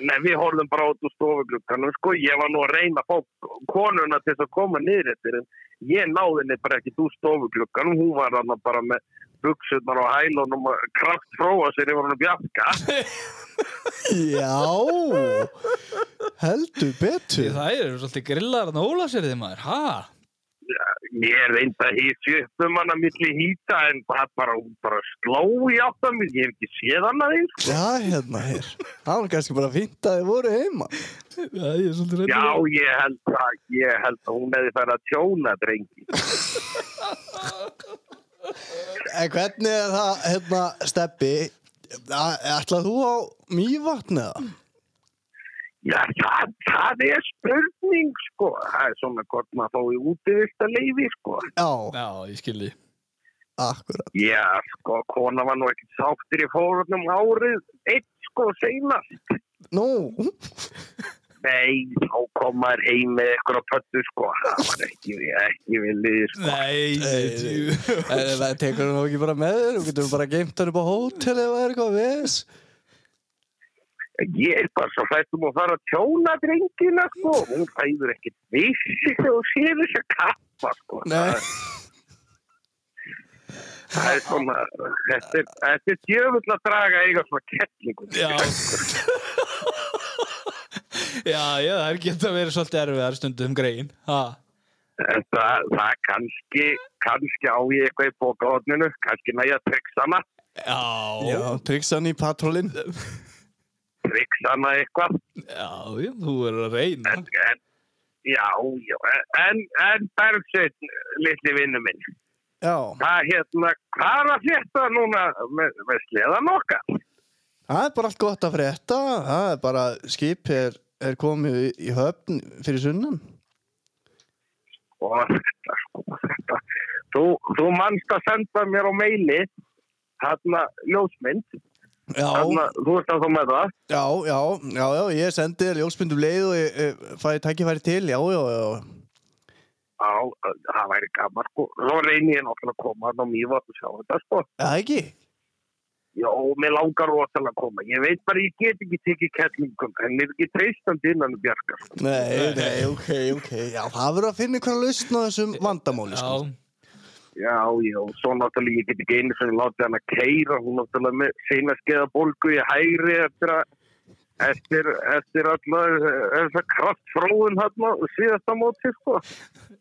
nei við horfum bara á þetta úr stofuglugganum sko ég var nú að reyna að fá konuna til þess að koma niður eftir en ég náði henni bara ekkert úr stofuglugganum hún var hann bara með buksunar og hælunum og kraft fróa sér yfir hann að bjarga Já Heldur Því betur Það eru svolítið grillar að nóla sér þið maður, ha? ég reyndi að hýsja upp um hann að milli hýta en það bara, hún bara sló í áttan mér, ég hef ekki séð hann að því Já, hérna, hér Það var kannski bara fínt að þið voru heima Já, ég er svolítið já ég held að, ég held að hún hefði færi að tjóna drengi En hvernig er það, hérna, steppi Ætlað þú á mývatn eða? Já, það, það er spurning, sko. Það er svona hvort maður fái útivista leiði, sko. Já, Já, ég skil því akkurat Já, sko, kona var nú ekki sáttir í fórunum árið eitt, sko, seinast. Nú, Nei, þá kom maður heim með ykkur á pöttu, sko. Það var ekki, ekki viljið, sko. Nei, Nei, nei, en það tekur hann ekki bara með þér Þú getur bara geimt hann upp á hótel eða er eitthvað ves Ég er bara svo fættum að fara að tjóna drengina, sko. Hún fæður ekki vissi þegar hún sér þess að kappa, sko. Nei, Það er svona, þetta er, þetta er djöfull að draga eiga svona kettlingu. já Já, já, það er geta verið svolítið erfiðar stundum greiðin Ha, Þetta, það kannski, kannski á ég eitthvað í bókaotninu, kannski næja tryggsana, já, já, tryggsan í patrólin tryggsana eitthvað. já, já, þú er að reyna En, en, já, já, en, en Bergsveinn, litli vinnu minn, Já, Hvað hérna, hvað er að frétta núna með, með sleðan okkar? það er bara allt gott að frétta Það er bara, skip er, er komið í- í höfn fyrir sunnan Og þetta, sko, þetta. Þú, þú manst að senda mér á meili, þarna ljósmynd, Já, þarna, þú ert að þú með það. já, já, já, já Ég sendi þér ljósmyndum leið og ég, ég fæði tækifæri til Já, já, já Já, það væri gaman, sko. Þá reyni ég náttúrulega að koma þarna á mývat og sjá þetta, sko. Það ekki? Já, mér langar rosalega að koma. Ég veit bara, ég get ekki tekið kettlingum, en ég er ekki treystandi innan um bjargar. sko. Nei, nei, ok, ok Já, það verður að finna einhverja lausn á þessum vandamáli sko. Já, Já, já, og svo náttúrulega ég get ekki einu sem látið hann að keira. Hún náttúrulega með seina skeiða bólgu í hægri eftir að Eftir, eftir alltaf þess að kraftfróðun hann á síðasta móti, sko.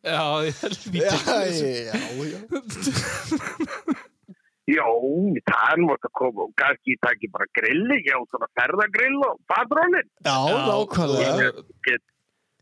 já, ég held Já, vítið já, já Jó, það er mjög að koma og kannski ég taki bara grilli, ég á svona ferðagrill og fadrónin. Já, nákvæmlega Ég get,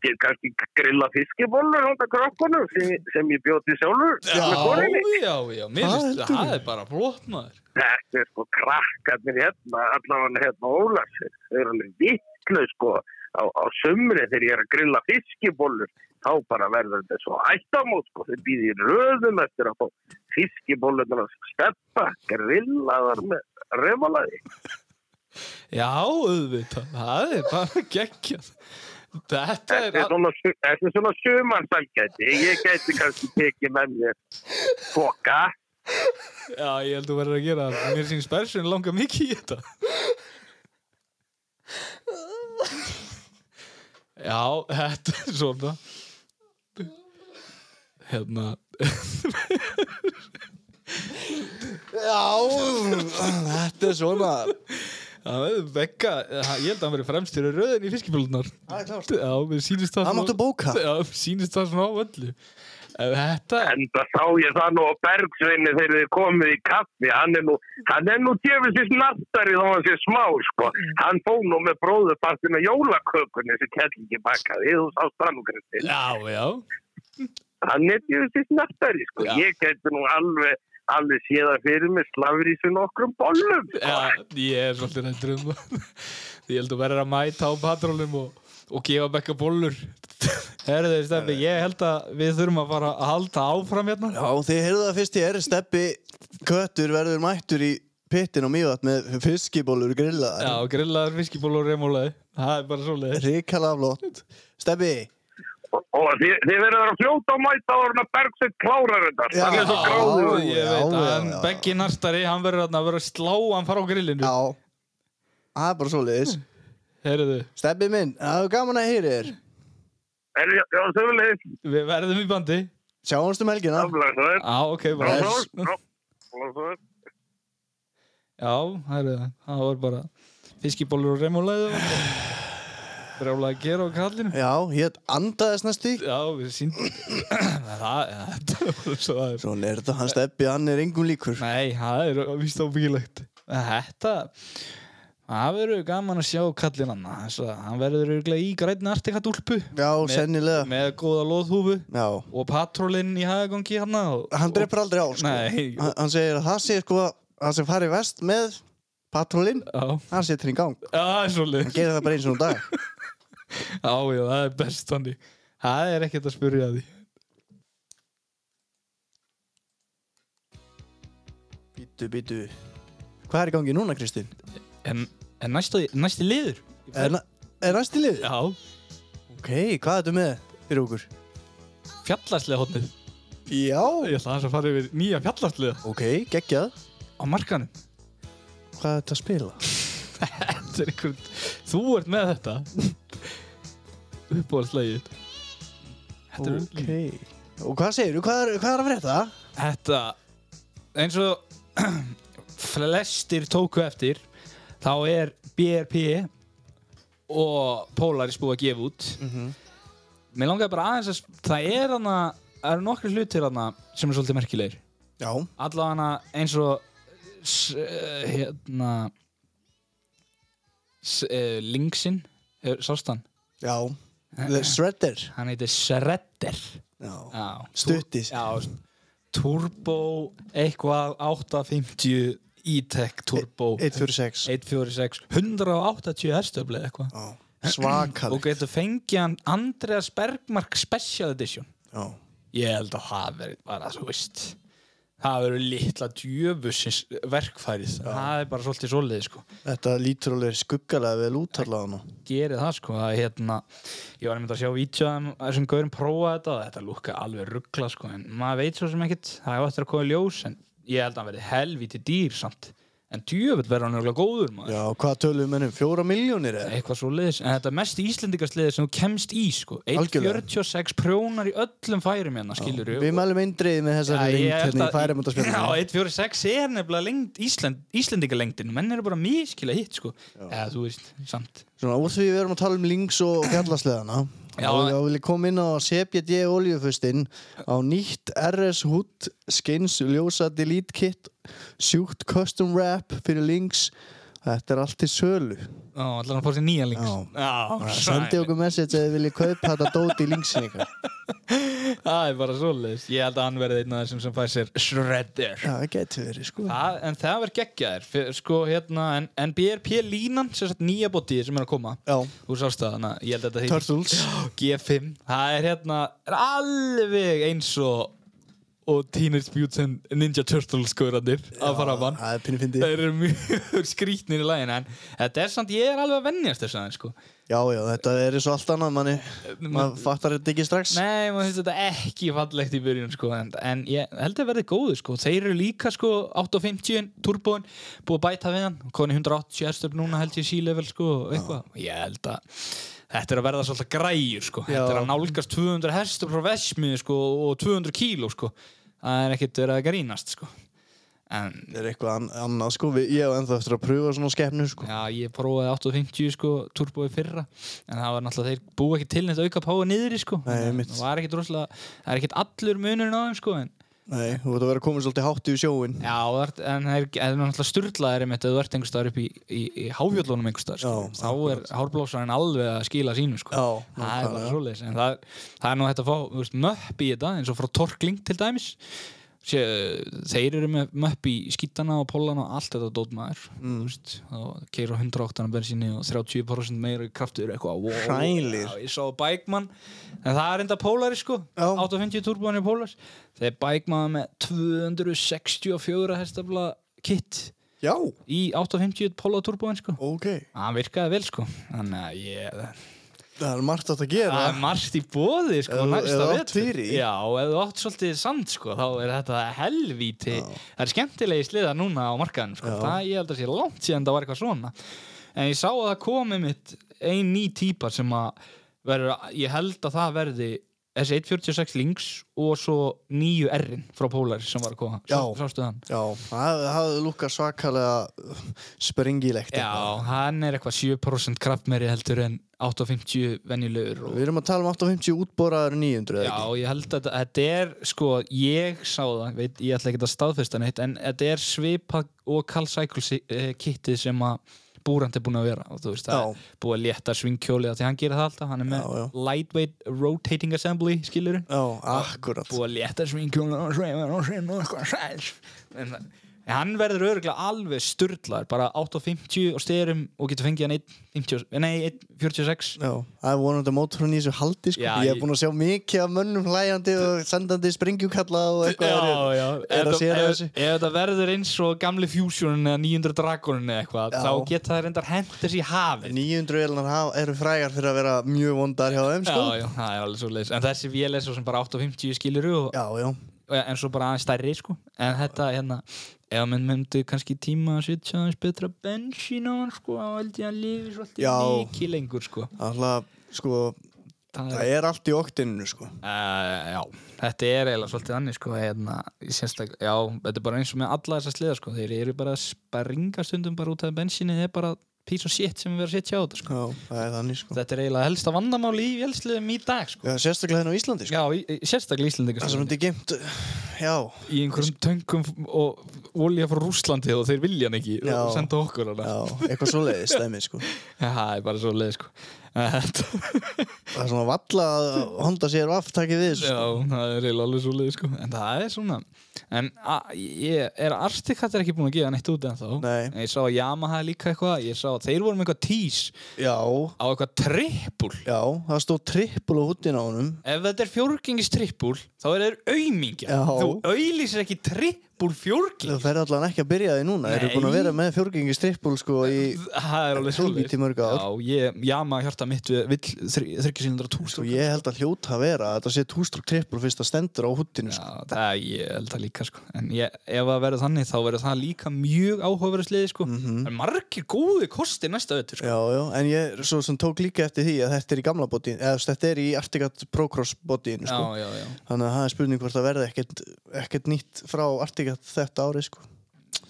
get kannski grilla fiskibólur hónda krokkunum sem, sem ég bjóti sjálfur Já, með konunni. já, já, mér Hvað finnst heldurðu? það er bara flott maður Þetta er sko krakkarnir hérna, allavega hérna Ólars, þau eru alveg vittlu sko á, á sumri þegar ég er að grilla fiskibólur þá bara verður þetta svo ættamót sko, þau býðir röðum eftir að fá fiskibólurnar að steppa grillaðar með revalaði. Já, auðvitað, það er bara geggjað Þetta er, Þetta er al- svona, su- þetta er svona sumarsælgæti. Ég gæti kannski tekið með mér boka. já, ég held þú verður að gera það Mér finnst Bersin langa mikið í þetta Já, þetta er svona Hérna Já, þetta er svona Það er vekka, eh, ég held að hann verið fremstur í röðin í fiskibjóldunar Það er klárt Já, mér sýnist það Það máttu bóka. Já, mér sýnist það svona á öllu En Þetta En það sá ég það nú á Bergsveinu þegar þið komið í kaffi. Hann er nú, hann er nú tjöfisins nartari þá hann sé smá, sko. Mm. Hann fóð nú með bróðupartina jólakökunni sem kellingi bakaði. Þú sá strannugrætti. Já, já Hann er tjöfisins nartari, sko. Já. Ég gæti nú alveg, alveg séða fyrir mig slavrísu nokkrum bollum, sko. Já, ég er svolítið hættur um það Ég held að verður að mæta á patrólum og, og gefa bekka bólur Herðu, Stefni, ég held að við þurfum að fara að halda áfram hérna Já, þið heyrðu það fyrst í er steppi köttur verður mættur í pittin og mývat með fiskibólur Já, grillaðar grillaðar fiskiból og remólaði Það er bara svolítið Ríkala flott Steppi, Og, og þið, þið verður að fljóta og mæta á orna Bergsvein klárar þetta. Já. Hann er svo gráður. ég já, veit já, að hann já. Beggi Nartari, hann verður þarna að vera að slá hann fara á grillinu já Það er bara svo liðis Herðu, Steppi minn, það er gaman að heyri þér Er, já, sömulegis. við verðum í bandi Sjáumst um helgina Aflæsaður. Já, ok, bara Bless. Aflæsaður. Já, herðu, það var bara fiskibólur og remólaði Brjála að gera á kallinu Já, ég andaðist næstu í. Já, við síndum Það þetta var svo aðeins Svona er þetta, hann Steppi, hann er engum líkur Nei, það er víst ábyggilegt Þetta Það verður gaman að sjá kallinn hann Þess að Hann verður örgulega í grænni artikadúlpu Já, sennilega Með góða loðhúfu Já, Og patrólinn í hagagangi hann hann dreipur aldrei á sko. Nei. Hann- Hann segir að það sé sko Það sem farið vest með patrólinn Já, Hann setur í gang Já, það er Hann svolítið Já, gerir það bara eins og um dag já, það er best hann Það er ekkert að spyrja að því Bítu, bítu Hvað er í gangi núna, Kristinn? En, en næsti, næsti liður Er, na- er næst í liðið? Já, Ok, hvað er þetta með fyrir okkur? fjallarslega hotnið Já Ég ætla aðeins að fara yfir nýja fjallarslega Ok, geggjað Á markanum Hvað er þetta að spila? Þetta er einhver, þú ert með þetta uppáhaldslegið þetta, er- Ok Og hvað segirðu? Hvað er, hvað er að frétta? þetta eins og flestir tóku eftir þá er BRP og Polaris búið að gefa út Mér langaði bara aðeins að s- það er hana, það eru nokkri hlutir hana sem er svolítið merkilegir Já allavega eins og s, eh, hérna s, eh, uh, Linksin sástan Já The Shredder Hann heitir Shredder Já Já, Stuttis. þú- Já, Turbo eitthvað 850 E-Tech Turbo E- 146 146 180 herstöfli eitthvað Já, svakar og getur fengið hann Andreas Bergmark Special Edition Já, ég held að það verið bara þú veist það verið litla djöfusins verkfærið það er bara svolítið svoleiði sko þetta lítur alveg skuggalega vel út allavega nú gerir það sko að hérna ég var einmitt að sjá vítjóðum þessum gaurum prófa þetta og þetta lúkka alveg ruggla sko en maður veit svo sem ekkert það er eftir að koma í ljós en ég held að hann verði helvítið dýr samt en djöfull verður hann örgulega góður maður Já, hvað tölum við mennum? Fjóra miljónir eða? eitthvað svo liðis en þetta er mest íslendingarsliði sem þú kemst í sko Algjörlega. 1.46 prjónar í öllum færum hérna skilur Við mælum eindriðið með þessari ringt hérna í færamöndarspjörnum Já, 1.46 er nefnilega lengd, Ísland, Íslendingalengdin menn eru bara miskila hitt sko eða þú veist, samt Svona úr því við erum að tala um links og fjallasleðana Já. og þá vil ég koma inn á CBD oljufustin á nýtt RS Hood Skins ljósa delete kit sjúkt custom wrap fyrir links þetta er allt til sölu Já, allan að fá sér nýja links Já. Já, sendi sæl. okkur message að þið viljið kaupa þetta dóti í linksin ykkar Það er bara svoleiðis Ég held að hann verði einn af þessum sem fær sér shredder Já, það getur verið sko Það, en það verður geggjaðir Fyr- sko, hérna, en, en BRP línan sem sagt nýja bótið sem er að koma Já, þú sást það, þannig að ég held að þetta heitir- Turtles G5 það er hérna er alveg eins og og Teenage Mutant Ninja Turtles skoðrandir að fara af hann Það er pinni fyndi þeir eru mjög skrítnir í lagin en þetta er samt, ég er alveg að vennjast þess aðeins sko. Já, já, þetta er svo allt annað manni maður fattar þetta ekki strax nei, maður finnst þetta ekki fallegt í byrjun sko, en, en ég held að verði góðu sko. þeir eru líka sko, 850 turbóin, búið að bæta við hann koni 180 erstöp núna held ég sílevel sko, og eitthvað, ég held að Þetta er að verða svolítið græjur sko. Já. Þetta er að nálgast 200 hestur frá vesmið sko, og 200 kíló sko. Það er ekkert verið að grínast sko. En Það er eitthvað an annað sko við, Ég hef ennþá eftir að pröfa svona skepnu sko Já, ég prófaði 850 sko, turbói fyrra en það var náttúrulega, þeir búa ekki til neitt auka páa niður í sko Nei, einmitt. það var ekkit rosalega, það er ekkit allur munurinn á þeim sko en, Nei, þú ert að vera komin svolítið hátt í sjóin já, það er, en það er, það er náttúrulega sturlaðir einmitt ef þú ert einhverstaðar upp í, í, í háfjöllunum einhverstaðar sko. Já, þá er hárblósarinn alveg að skila sínu sko Já, það er nákvæmlega. bara svoleiðis en það, það er nú hægt að fá þú veist, möpp í þetta eins og frá Torkling til dæmis Sé, þeir eru með möpp í skítana og pollana og allt þetta dót maður mm. veist, og keira 108 bensinni og 30% meira í kraftur eitthvað wow, Hrælir. já, ég sá Bækman en það er enda pólari sko Já. 850 turbóin er pólars þeir Bækman með 264 hestafla kit Já, í 850 pólar turbóin sko ok hann virkaði vel sko þannig að ég Það er margt átt að gera Það er margt í bóði Ef sko þú- ef næsta þú átt vetur. fyrir í. Já, ef þú átt svolítið sand sko þá er þetta helvíti Það er skemmtilegi sliða núna á markaðinu sko Já. Það ég held að sé langt síðan það var eitthvað svona En ég sá að það komi mitt ein ný típa sem að verður, ég held að það verði þessi 146 links og svo nýju R-in frá Pólari sem var að koma Já. Sá- Sástu þann? Já, það það lúkkar svakalega springilegt hérna. Já, hann er eitthvað 7% kraftmeri heldur en 850 venjulegur og Við erum að tala um 850 útboraður 900 eða Já, ekki? ég held að þetta er, sko, ég sá það, veit, ég ætla ekki að staðfesta neitt, en þetta er svipa og Carl Cycle si- eh, kittið sem að búrandi er búin að vera, og þú veist, það Já. er búið að létta svingkjólið, af því hann gerir það alltaf, hann er með Já, já. lightweight rotating assembly, skilur Já, akkurat búið að létta svingkjólið og sveima og sveima og eitthvað sæls, en það- en hann verður örgulega alveg sturdlar, bara 8.50 og styrum og getur fengið hann 1.50, nei, 1.46 Já, það er vonandi mótorun í þessu haldi sko Já, Ég ég- hef búin að sjá mikið af mönnum hlæjandi og sendandi springjúkalla og eitthvað já, já. er að Ef séra þetta- þessu ef, ef þetta verður eins og gamli Fusion eða 900 Dragonin eða eitthvað Já. þá geta það reyndar hent þessi í hafið 900 vélunar hafa- eru frægar fyrir að vera mjög vondar hjá þeim sko Já, já, það er alveg svo leiðis En þessi vél er svo sem bara 850 skilur og, Já, já, og- en svo bara aðeins stærri sko En þetta, hérna, ef menn myndu kannski tíma að setja aðeins betra bensín á hann sko þá held ég að hann lifi Já. svolítið mikið lengur sko alltaf sko, Það það er allt í oktinu sko Uh, já, þetta er eiginlega svolítið annir sko, hérna, í sérstak, já, þetta er bara eins og með alla þessa sliða sko, þeir eru bara að springa stundum bara út af bensinni, þeir bara piece of shit sem við erum að sitja á þetta sko. Já, það er þannig sko. Þetta er eiginlega helsta vandamáli í vélsliðum í dag sko. Já, sérstaklega hérna á Íslandi sko. Já, í- í- sérstaklega Íslandingar Það sem þetta er geimt, já, í einhverjum töngum f- og olja frá Rúslandi og þeir vilja hann ekki Já. og senda okkur hana já, eitthvað svo leiðist dæmi sko. Já, það er bara svo leið sko Þetta- Það er svona valla að Honda sér aftakið við þessu, sko. Já, það er eiginlega alveg svo leið sko En það er svona En a- ég er Artikatt er ekki búin að gefa neitt út en þá Nei. Ég sá að Yamaha er líka eitthvað Ég sá að þeir voru með eitthvað tís sko. Já, á eitthvað trippul já, það stóð trippul á húttin á honum. Ef þetta er fjórgengis trippul þá er þeir auðmingja Já. Þú auðlýsir ekki trippul fjórgengis Það fer allan ekki að byrja því núna, þeir eru Nei. búin að vera með fjórgengi strippul sko í, Það er alveg Helvíti svoleiðis. mörg ár. Já, ég, Yamaha hjarta mitt við vill þryggjusýlindra sko tústur ég held að hljóta að vera að þetta sé tústrúk trippul fyrst að stendur á húttinu sko. Já, það ég held það líka sko. En ég, ef það verður þannig þá verður það líka mjög áhugaverið sliði sko. Mhm. Það er margir góði kosti næsta vettur sko. Já, já, en ég svo sem tók líka eftir því að þetta er í gamla botín, eða þú veist, þetta er í Artigat Procross botínu sko. já, já, já. Þannig að það er spurning hvort það verði ekkert, ekkert nýtt frá Artigat þetta árið sko.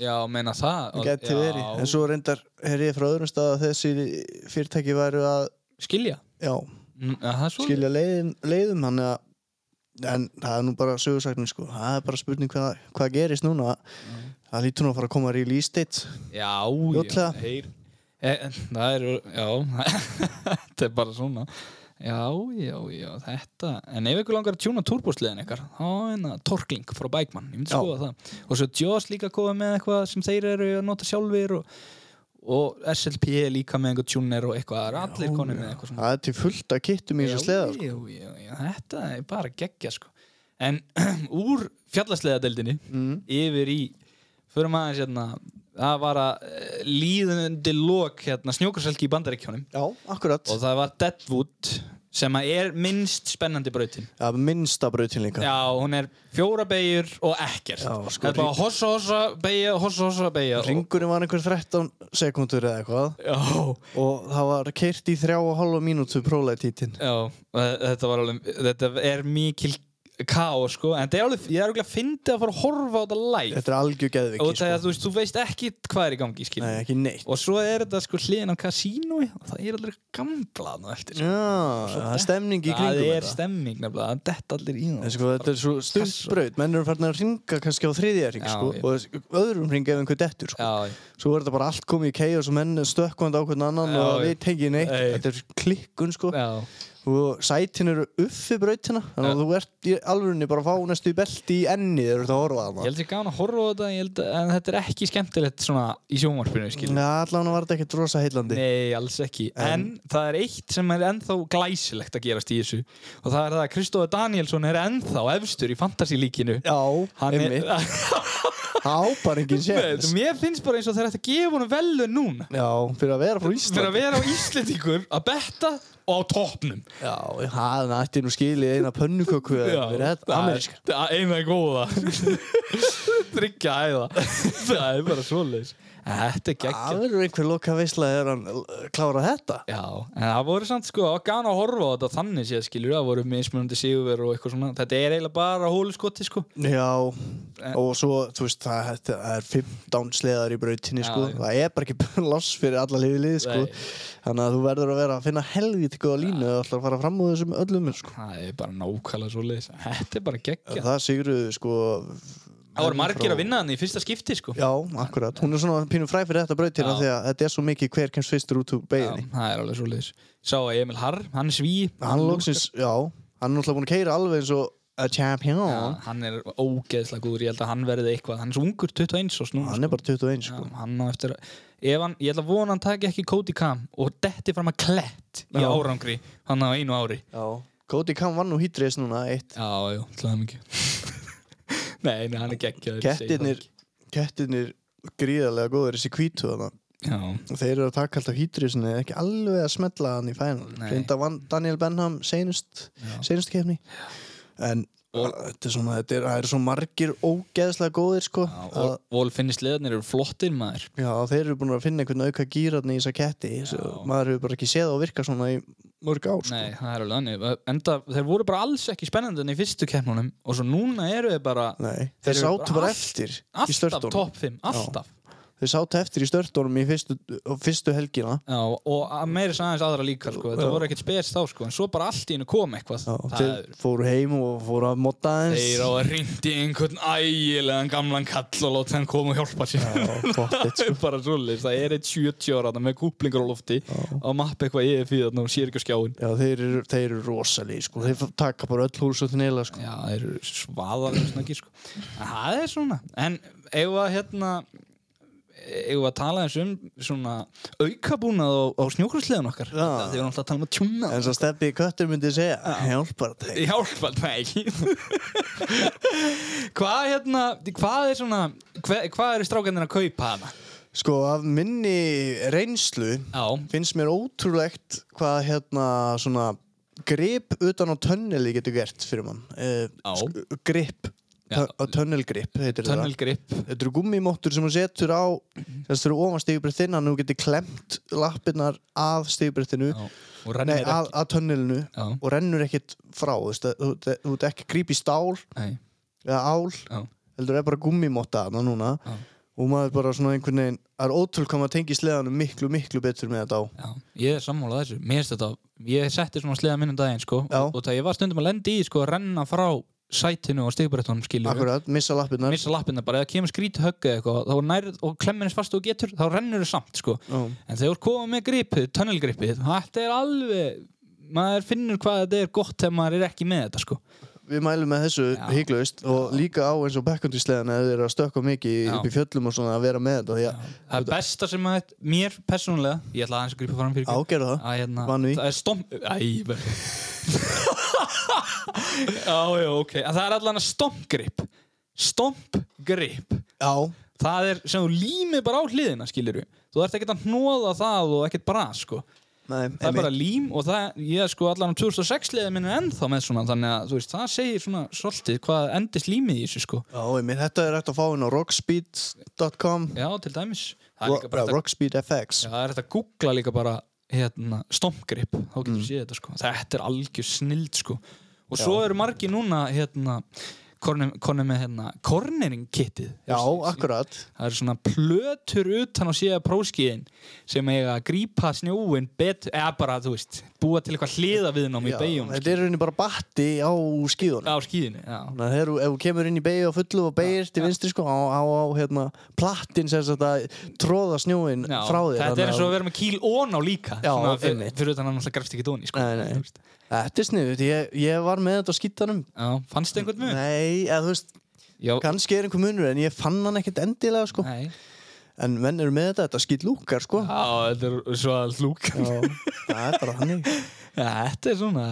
Já, meina það Það geti já, verið. En svo reyndar, heyr ég frá öðrum stað að þessi fyrirtæki væru að Skilja já, Mm, að það er svo skilja leiðin, leiðum hann að En það er nú bara sögursaknin sko, það er bara spurning hvað, hvað gerist núna, það lítur nú að fara að koma að release date, Já, já, Fljótlega. heyr e, Það er, já Þetta er bara svona Já, já, já, þetta En ef ykkur langar að tjúna turbosliðin ykkar þá er það torkling frá Bækmann Ég myndi Já. skoða það Og svo Joss líka komið með eitthvað sem þeir eru að nota sjálfir og, og SLP er líka með einhver tjúner og eitthvað Það er allir konið með eitthvað svona það er til fullt að kittum í þessu sleða sko. já, já, já, þetta er bara geggja sko En úr fjallasleðadeldinni Mm. yfir í Förum aðeins hérna Það var að eh, líðandi lok hérna, snjókarselki í bandaríkjónum Já, akkurat. og það var Deadwood sem að er minnst spennandi brautin Já, minnsta brautin líka. Já, hún er fjóra beigur og ekkert Já, sko, Það er bara hossa, hossa, beigja, hossa, hossa, beigja Ringurinn var einhver 13 sekundur eða eitthvað Já, og það var keirt í þrjá og hálfa mínútu próleitítinn. já eh, þetta var alveg, þetta er mikil káo sko, en þetta er alveg, ég er alveg að fyndi að fara að horfa á þetta live Þetta er algjör geðviki, og það sko. er að þú veist, þú veist ekki hvað er í gangi, skil Nei, ekki neitt. og svo er þetta sko hliðin á kasínói og það er allir gamla nú eftir Já, sko. það er stemming Mm, í það kringum er þetta. stemming nefnilega, það er detta allir í það En sko, þetta er svo Kassa. stundbraut, menn eru farin að ringa kannski á þriðja ring, Já, sko, já. og öðrum ring ef einhver dettur, sko. Já, já. Svo er þetta bara allt komið í kei og svo menn stökkvand á hvern annan Já, og já. við tengið neitt. Nei. Þetta er klikkun, sko, já og sætin eru uppi brautina, þannig að Já. þú ert í alvörunni bara að fá næstu í belti í enni þegar þú ert að horfa að Ég held sér gaman að horfa á þetta en ég held, en þetta er ekki skemmtilegt svona í sjónvarpinu skilur. Nei, allan var þetta ekkert rosa heillandi Nei, alls ekki. En, það er eitt sem er ennþá glæsilegt að gerast í þessu og það er það að Kristóður Danielsson er ennþá efstur í fantasílíkinu. Já, Hann er, einmitt Það ápar enginn séns Nei, mér finnst bara eins og þeir ætti að gefa honum velu núna. Já, fyrir að vera frá Fyrir Ísland að vera á Íslendingur að betta og á toppnum. Já, hann ætti nú skilið eina pönnuköku eða fyrir þetta Ameríska Það er eina góða. Tryggja æða. það er bara svoleiðis. Þetta er geggjað. Það verður einhver loka veisla þegar hann klára þetta Já, en það voru samt sko, það var gana að horfa á þetta þannig séð skilur, það voru mismunandi sigurverð og eitthvað svona, þetta er eiginlega bara hóluskoti sko. Já, og svo, þú veist, það, þetta- það er 15 sleðar í brautinni, Já, sko já. Það er bara ekki loss fyrir alla liðið, sko Nei. Þannig að þú verður að vera að finna helvítið góða línu og ætlar að fara fram úr þessum öllum, sko Það er bara nákvæmlega svo leiðis, þetta er bara geggja. Það sigruðu, sko Það voru margir frá- að vinna þannig í fyrsta skipti sko. Já, akkurat. Hún er svona pínu fræ fyrir þetta brautina Já. því að þetta er svo mikið hver kemst fyrstur út úr beginni. það er alveg svo leiðis. Sá að Emil Harr, hann er sví. Hann lóksins, já, hann er náttúrulega búin að keira alveg eins og a champion. Já, hann er ógeðslega góður, ég held að hann verði eitthvað, hann er svo ungur 21 og snúna. Hann er bara 21, Já, sko. hann á eftir að, ef hann, ég ætla að vona að hann taki ekki Cody Kam og detti fram að klett í Já. árangri, hann á einu ári. Já. Cody Kam vann nú hýtreis núna eitt. Já, já, til það mikið Nei, nei, hann er geggjaður ég segi það Kettirnir, ekki. kettirnir gríðarlega góður þessi kvítu þarna. Já, Og Þeir eru að taka alltaf hýtreisinu eða ekki alveg að smetla hann í fænal. Nei. Reynda vann Daniel Benham seinust, seinust kefni. En þetta er svona, þetta er, það eru svo margir ógeðslega góðir, sko. já að- og Wolfinnis leðarnir eru flottir maður Já, þeir eru búin að finna einhvern auka gýrarni í þessa ketti svo maður hefur bara ekki séð og virka svona í mörg ár sko. Nei, það er alveg annir Enda, þeir voru bara alls ekki spennandi enn í fyrstu keppnunum og svo núna eru þeir bara Nei, Þeir þeir eru sáttu bara bara allt- eftir í alltaf störtunum topp 5, alltaf Þeir sátu eftir í störtunum í fyrstu, fyrstu helgina Já, og að meira sem aðeins aðra líka sko. þetta Já. voru ekkert spes þá sko. en svo bara allt í hennu kom eitthvað Já, Það Þeir er- fóru heim og fóru að modda þeir aðeins á að ringdi einhvern ægilegan gamlan kall og láta hann koma og hjálpa sér Já, gott, sko. það er bara svolítið, það er eitt 70 ára þarna með kúplingar á lofti á mappi eitthvað ég er fyrir þarna og sér ekki á skjáin Já, þeir eru, þeir eru rosalí sko. Þeir taka bara öll hús og þinnilega sko. Já, það eru svaðalega snakki sko. En það er svona En eigum við að hérna eigum við að tala eins um svona aukabúnað á, á snjókursliðan okkar Já. Það er alltaf að tala um að tjúna En svo stefni í köttur myndi segja Hjálpar þeir Hjálpa það ekki Hvað hérna Hvað er svona hver, Hvað eru strákanir að kaupa hana? Sko af minni reynslu Já, Finnst mér ótrúlegt hvað hérna svona Grip utan á tönneli getur gert fyrir mann uh, Já. Grip Já. Tönnelgrip heitir það tunnelgrip Þetta eru gummimóttur sem þú setur á Þess eru ofan stígbrettin Þannig að þú getur klemt lappirnar af stígbrettinu Já, Nei, og rennir að, að tönnelinu Já. Og rennur ekkit frá Þú veist, þú- þú þú ert ekki gríp í stál Nei, Eða ál já, heldur er bara gummimotta þarna núna Já. og maður bara svona einhvern veginn það er ótrúl hvað maður tengi sleðanum miklu, miklu betur með þetta á já, ég er sammálað þessu Mér finnst þetta, ég setti svona sleða minn um daginn sko, Já. og, og það ég var stundum að lendi í sko, að renna frá sætinu og stigbrettunum skilur akkurat, missa lappirnar missa lappina bara, eða kemur skríti högg eða eitthvað þá nærð og klemminist fast og getur þá rennur þau samt sko Já. en þegar þú ert komið með gripið, tunnelgripið þetta er alveg, maður finnur hvað þetta er gott þegar maður er ekki með þetta sko við mælum með þessu Já. hygglaust og líka á eins og backcountry sleðan eða þeir eru að stökka mikið Já. upp í fjöllum og svona að vera með þetta því að það er besta sem að, mér persónulega ég ætla aðeins að grípa fram fyrir ykkur. ágerða það að hérna, Vann því. það er stomp Æ, ég ber- já, já, ok en það er allan að stompgrip stompgrip já, það er sem þú límið bara á hliðina skilur þú ert ekkert að hnóða það og ekkert bara sko nei, það er einmitt. bara lím og það, ég sko allan á 2006 liðið minn er ennþá með svona þannig að þú veist, það segir svona svolítið hvað endist límið í þessu sko já, einmitt, þetta er hægt að fá inn á rockspeed.com já, til dæmis, það er líka Ro- bara hægt að, rockspeed FX já, það er hægt að googla líka bara hérna, stompgrip, þá getur mm. séð þetta sko þetta er algjör snild sko og svo eru margi núna hérna kornir kornir með hérna cornering kittið já, akkurat Það eru svona plötur utan á síða próskiðin sem eiga að grípa snjóin betur, eða bara, þú veist, búa til eitthvað hliða viðnám í Já, beigjum þetta er í rauninni bara batti á skíðunum á skíðinu, já. Þannig að þegar þú- ef þú kemur inn í beigju á fullu og beigir til vinstri sko á, á, á hérna, plattin sem sagt að tróða snjóin já. frá þér Þetta þannig er eins og að vera með kíl ón á líka Já, svona fyr- einmitt. Fyrir utan að náttúrulega grefst ekki dóni sko. Nei, nei. þú veist. Þetta er sniðut, ég, ég var með þetta á skítanum Já, fannst þið einhvern mun? Nei, eða þú veist, Já, kannski er einhver munur en ég fann hann ekkert endilega sko nei En menn eru með þetta, þetta skýt lúkar sko Já, þetta er svo að lúk Já, það er bara hannig Þetta er svona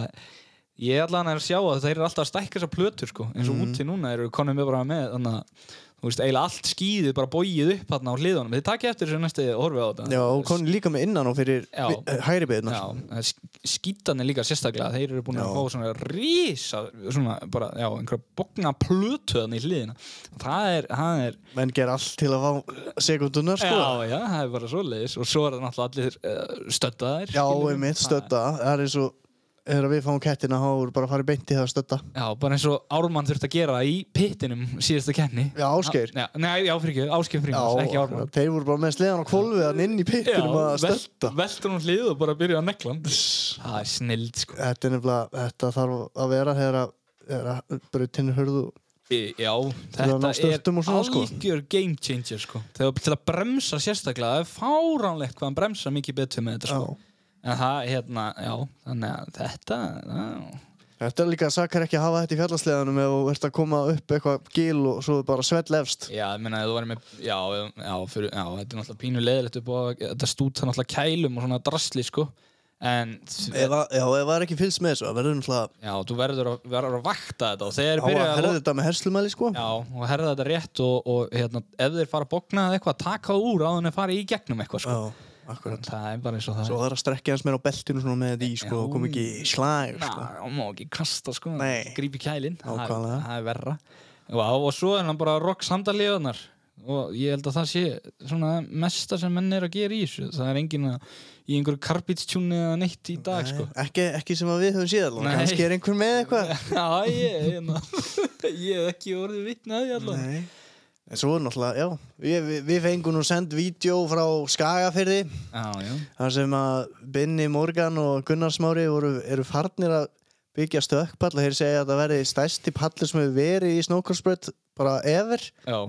Ég er allan að sjá að þeir eru alltaf að stækka þessar plötur sko. eins Mhm. og úti núna eru konum við bara með þannig að þú veist, eiginlega allt skýðið bara bóið upp hérna á hliðunum þið takja eftir þessu næstu horfið á þetta Já, og konin líka með innan og fyrir Já. vi- eh, hægri beignar Já, skítanir líka sérstaklega þeir eru búin Já. að fá svona rísa svona bara, já, einhverja bókna plötuðan í hliðina það er, það er Menn ger allt til að fá sekundunar sko já, já, það er bara svoleiðis og svo er það náttúrulega allir uh, stöddaðir Já, skilurðu. einmitt, Það- stötta Það er eins og, þegar við fáum kettina þá er bara að fara beint í það að stötta Já, bara eins og Ármann þurfti að gera í pittinum síðasta kenni Já, Ásgeir. Já, Nei, já, fyrir ekki, Ásgeir Frímans, ekki Ármann þeir voru bara með sleðan og kvolviðan inn í pittinum að stelta veltur hún hlið og bara byrja að negla hann Það er snild, sko Þetta er nefnilega, þetta þarf að vera þegar að, þegar að brutinu hörðu Í- Já, að ná þetta er stöttum og svona, sko. algjör game changer, sko Þegar til að bremsa sérstaklega, það er fáránlegt hvað hann bremsa mikið betur með þetta, sko En það, hérna, já, þannig að þetta, já Þetta er líka að sakar ekki að hafa þetta í fjallasleðanum ef þú ert að koma upp eitthvað gil og svo er bara svell efst Já, ég meina, ef þú væri með, já, já, fyrir, já, þetta er náttúrulega pínu leðilegt upp á að- Þetta stúta náttúrulega kælum og svona drasli, sko En Ef að, já, ef það er ekki fylgst með þessu, það verður náttúrulega Já, þú verður að, verður að vakta þetta og þeir á að byrja að, herða þetta með herslumæli sko já, og herða þetta rétt og, og hérna, ef þeir fara að bókna eða eitthvað, taka það úr áður en þeir fara í gegnum eitthvað sko. akkurat Það er bara eins og það Svo er. það er að strekkja hans meira á beltinu svona með því sko og kom ekki í slag Ná, sko. það má ekki kasta sko, Nei. grípi kælinn, það er- Nákvæmlega. það er verra. Já, og svo er hann bara að rock samdalíðunar og ég held að það sé svona mesta sem menn er að gera í þessu. Það er engin að, í einhverju karbítstjúni eða neitt í dag sko. Nei, ekki, ekki sem að við höfum síðan Nei. Kannski er einhver með eitthvað hérna. Já, ég, ég, ég hef ekki orðið vitnaði allavega. Nei. En svo er náttúrulega, já, við, við- við fengum nú send vídeo frá Skagafyrði Já, já. þar sem að Binni Morgan og Gunnar Smári voru, eru farnir að byggja stökkpall og þeir segja að það verði stærsti pallur sem hefur verið í snókorsbröð bara ever Já,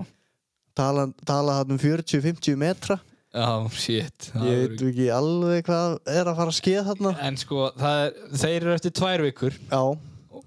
tala, tala hann um 40-50 metra já, shit. það ég verður- veit ekki alveg hvað er að fara að skeða þarna En sko, það er, þeir eru eftir tvær vikur. já, og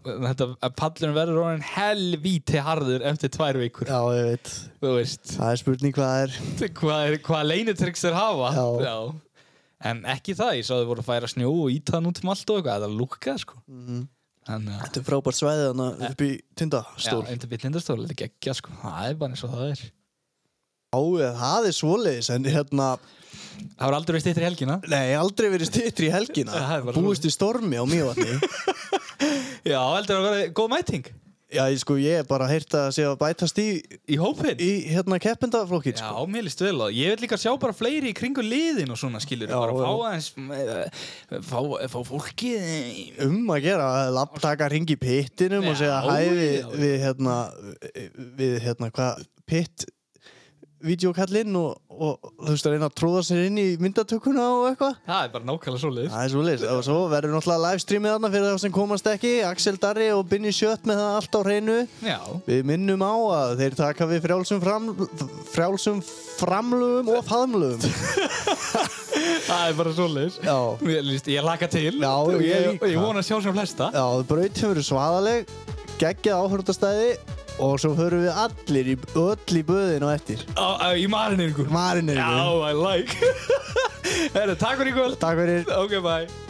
Þetta, að pallurinn verður orðin helvíti harður eftir tvær vikur. já, ég veit Þú veist, það er spurning hvað er hvað, er, hvað leinitryggs þeir hafa. Já. En ekki það, ég sá þau voru að færa snjó og íta hann út um allt og eitthvað. Það lúkkaði, sko. Mhm. Þannig að... þetta er frábært svæðið hann upp í Stól. tindastól Já, undir byllindarstól, þetta er geggja, sko. Það er bara eins og það er. á, það er svoleiðis en hérna, Það var aldrei veist eittir helgina. nei, aldrei verið stytri í helgina Það er bara búist í stormi á mjög Já, heldur að vera góð mæting já, ég sko, ég er bara að heyrta að sé að bætast í í hópin. í hérna keppendaflokkin Já, sko. mér líst vel á. það. Ég vil líka sjá bara fleiri í kringu liðin og svona, skilur. Já, bara já. fá aðeins, eh, fá, fá fólkið. í- um að gera að taka hring í pittinum og Já, segja hæ við, já. við hérna við hérna hvað pitt videokallinn og, og þú veist að reyna að tróða sér inn í myndatökuna og eitthvað Það er bara nákvæmlega svo liðis. Það er svolítið, og svo verður náttúrulega livestreamið þarna fyrir þá sem komast ekki, Axel Darri og Binni Sjött með það allt á hreinu Já, Við minnum á að þeir taka við frjálsum, fram, frjálsum framlugum og faðmlugum það er bara svo liðis. Já. Mér líst, ég laka til. Já, og ég ég, líka. og ég vona að sjá sem flesta. Já, braut hefur verið svaðaleg, geggjað áhörðastæði og svo höfum við allir í, öll í böðin og eftir. Á, á, í mariningu. Marinir Oh, Já, I like. Herru, takk fyrir í kvöld. Takk fyrir. Ok, bye.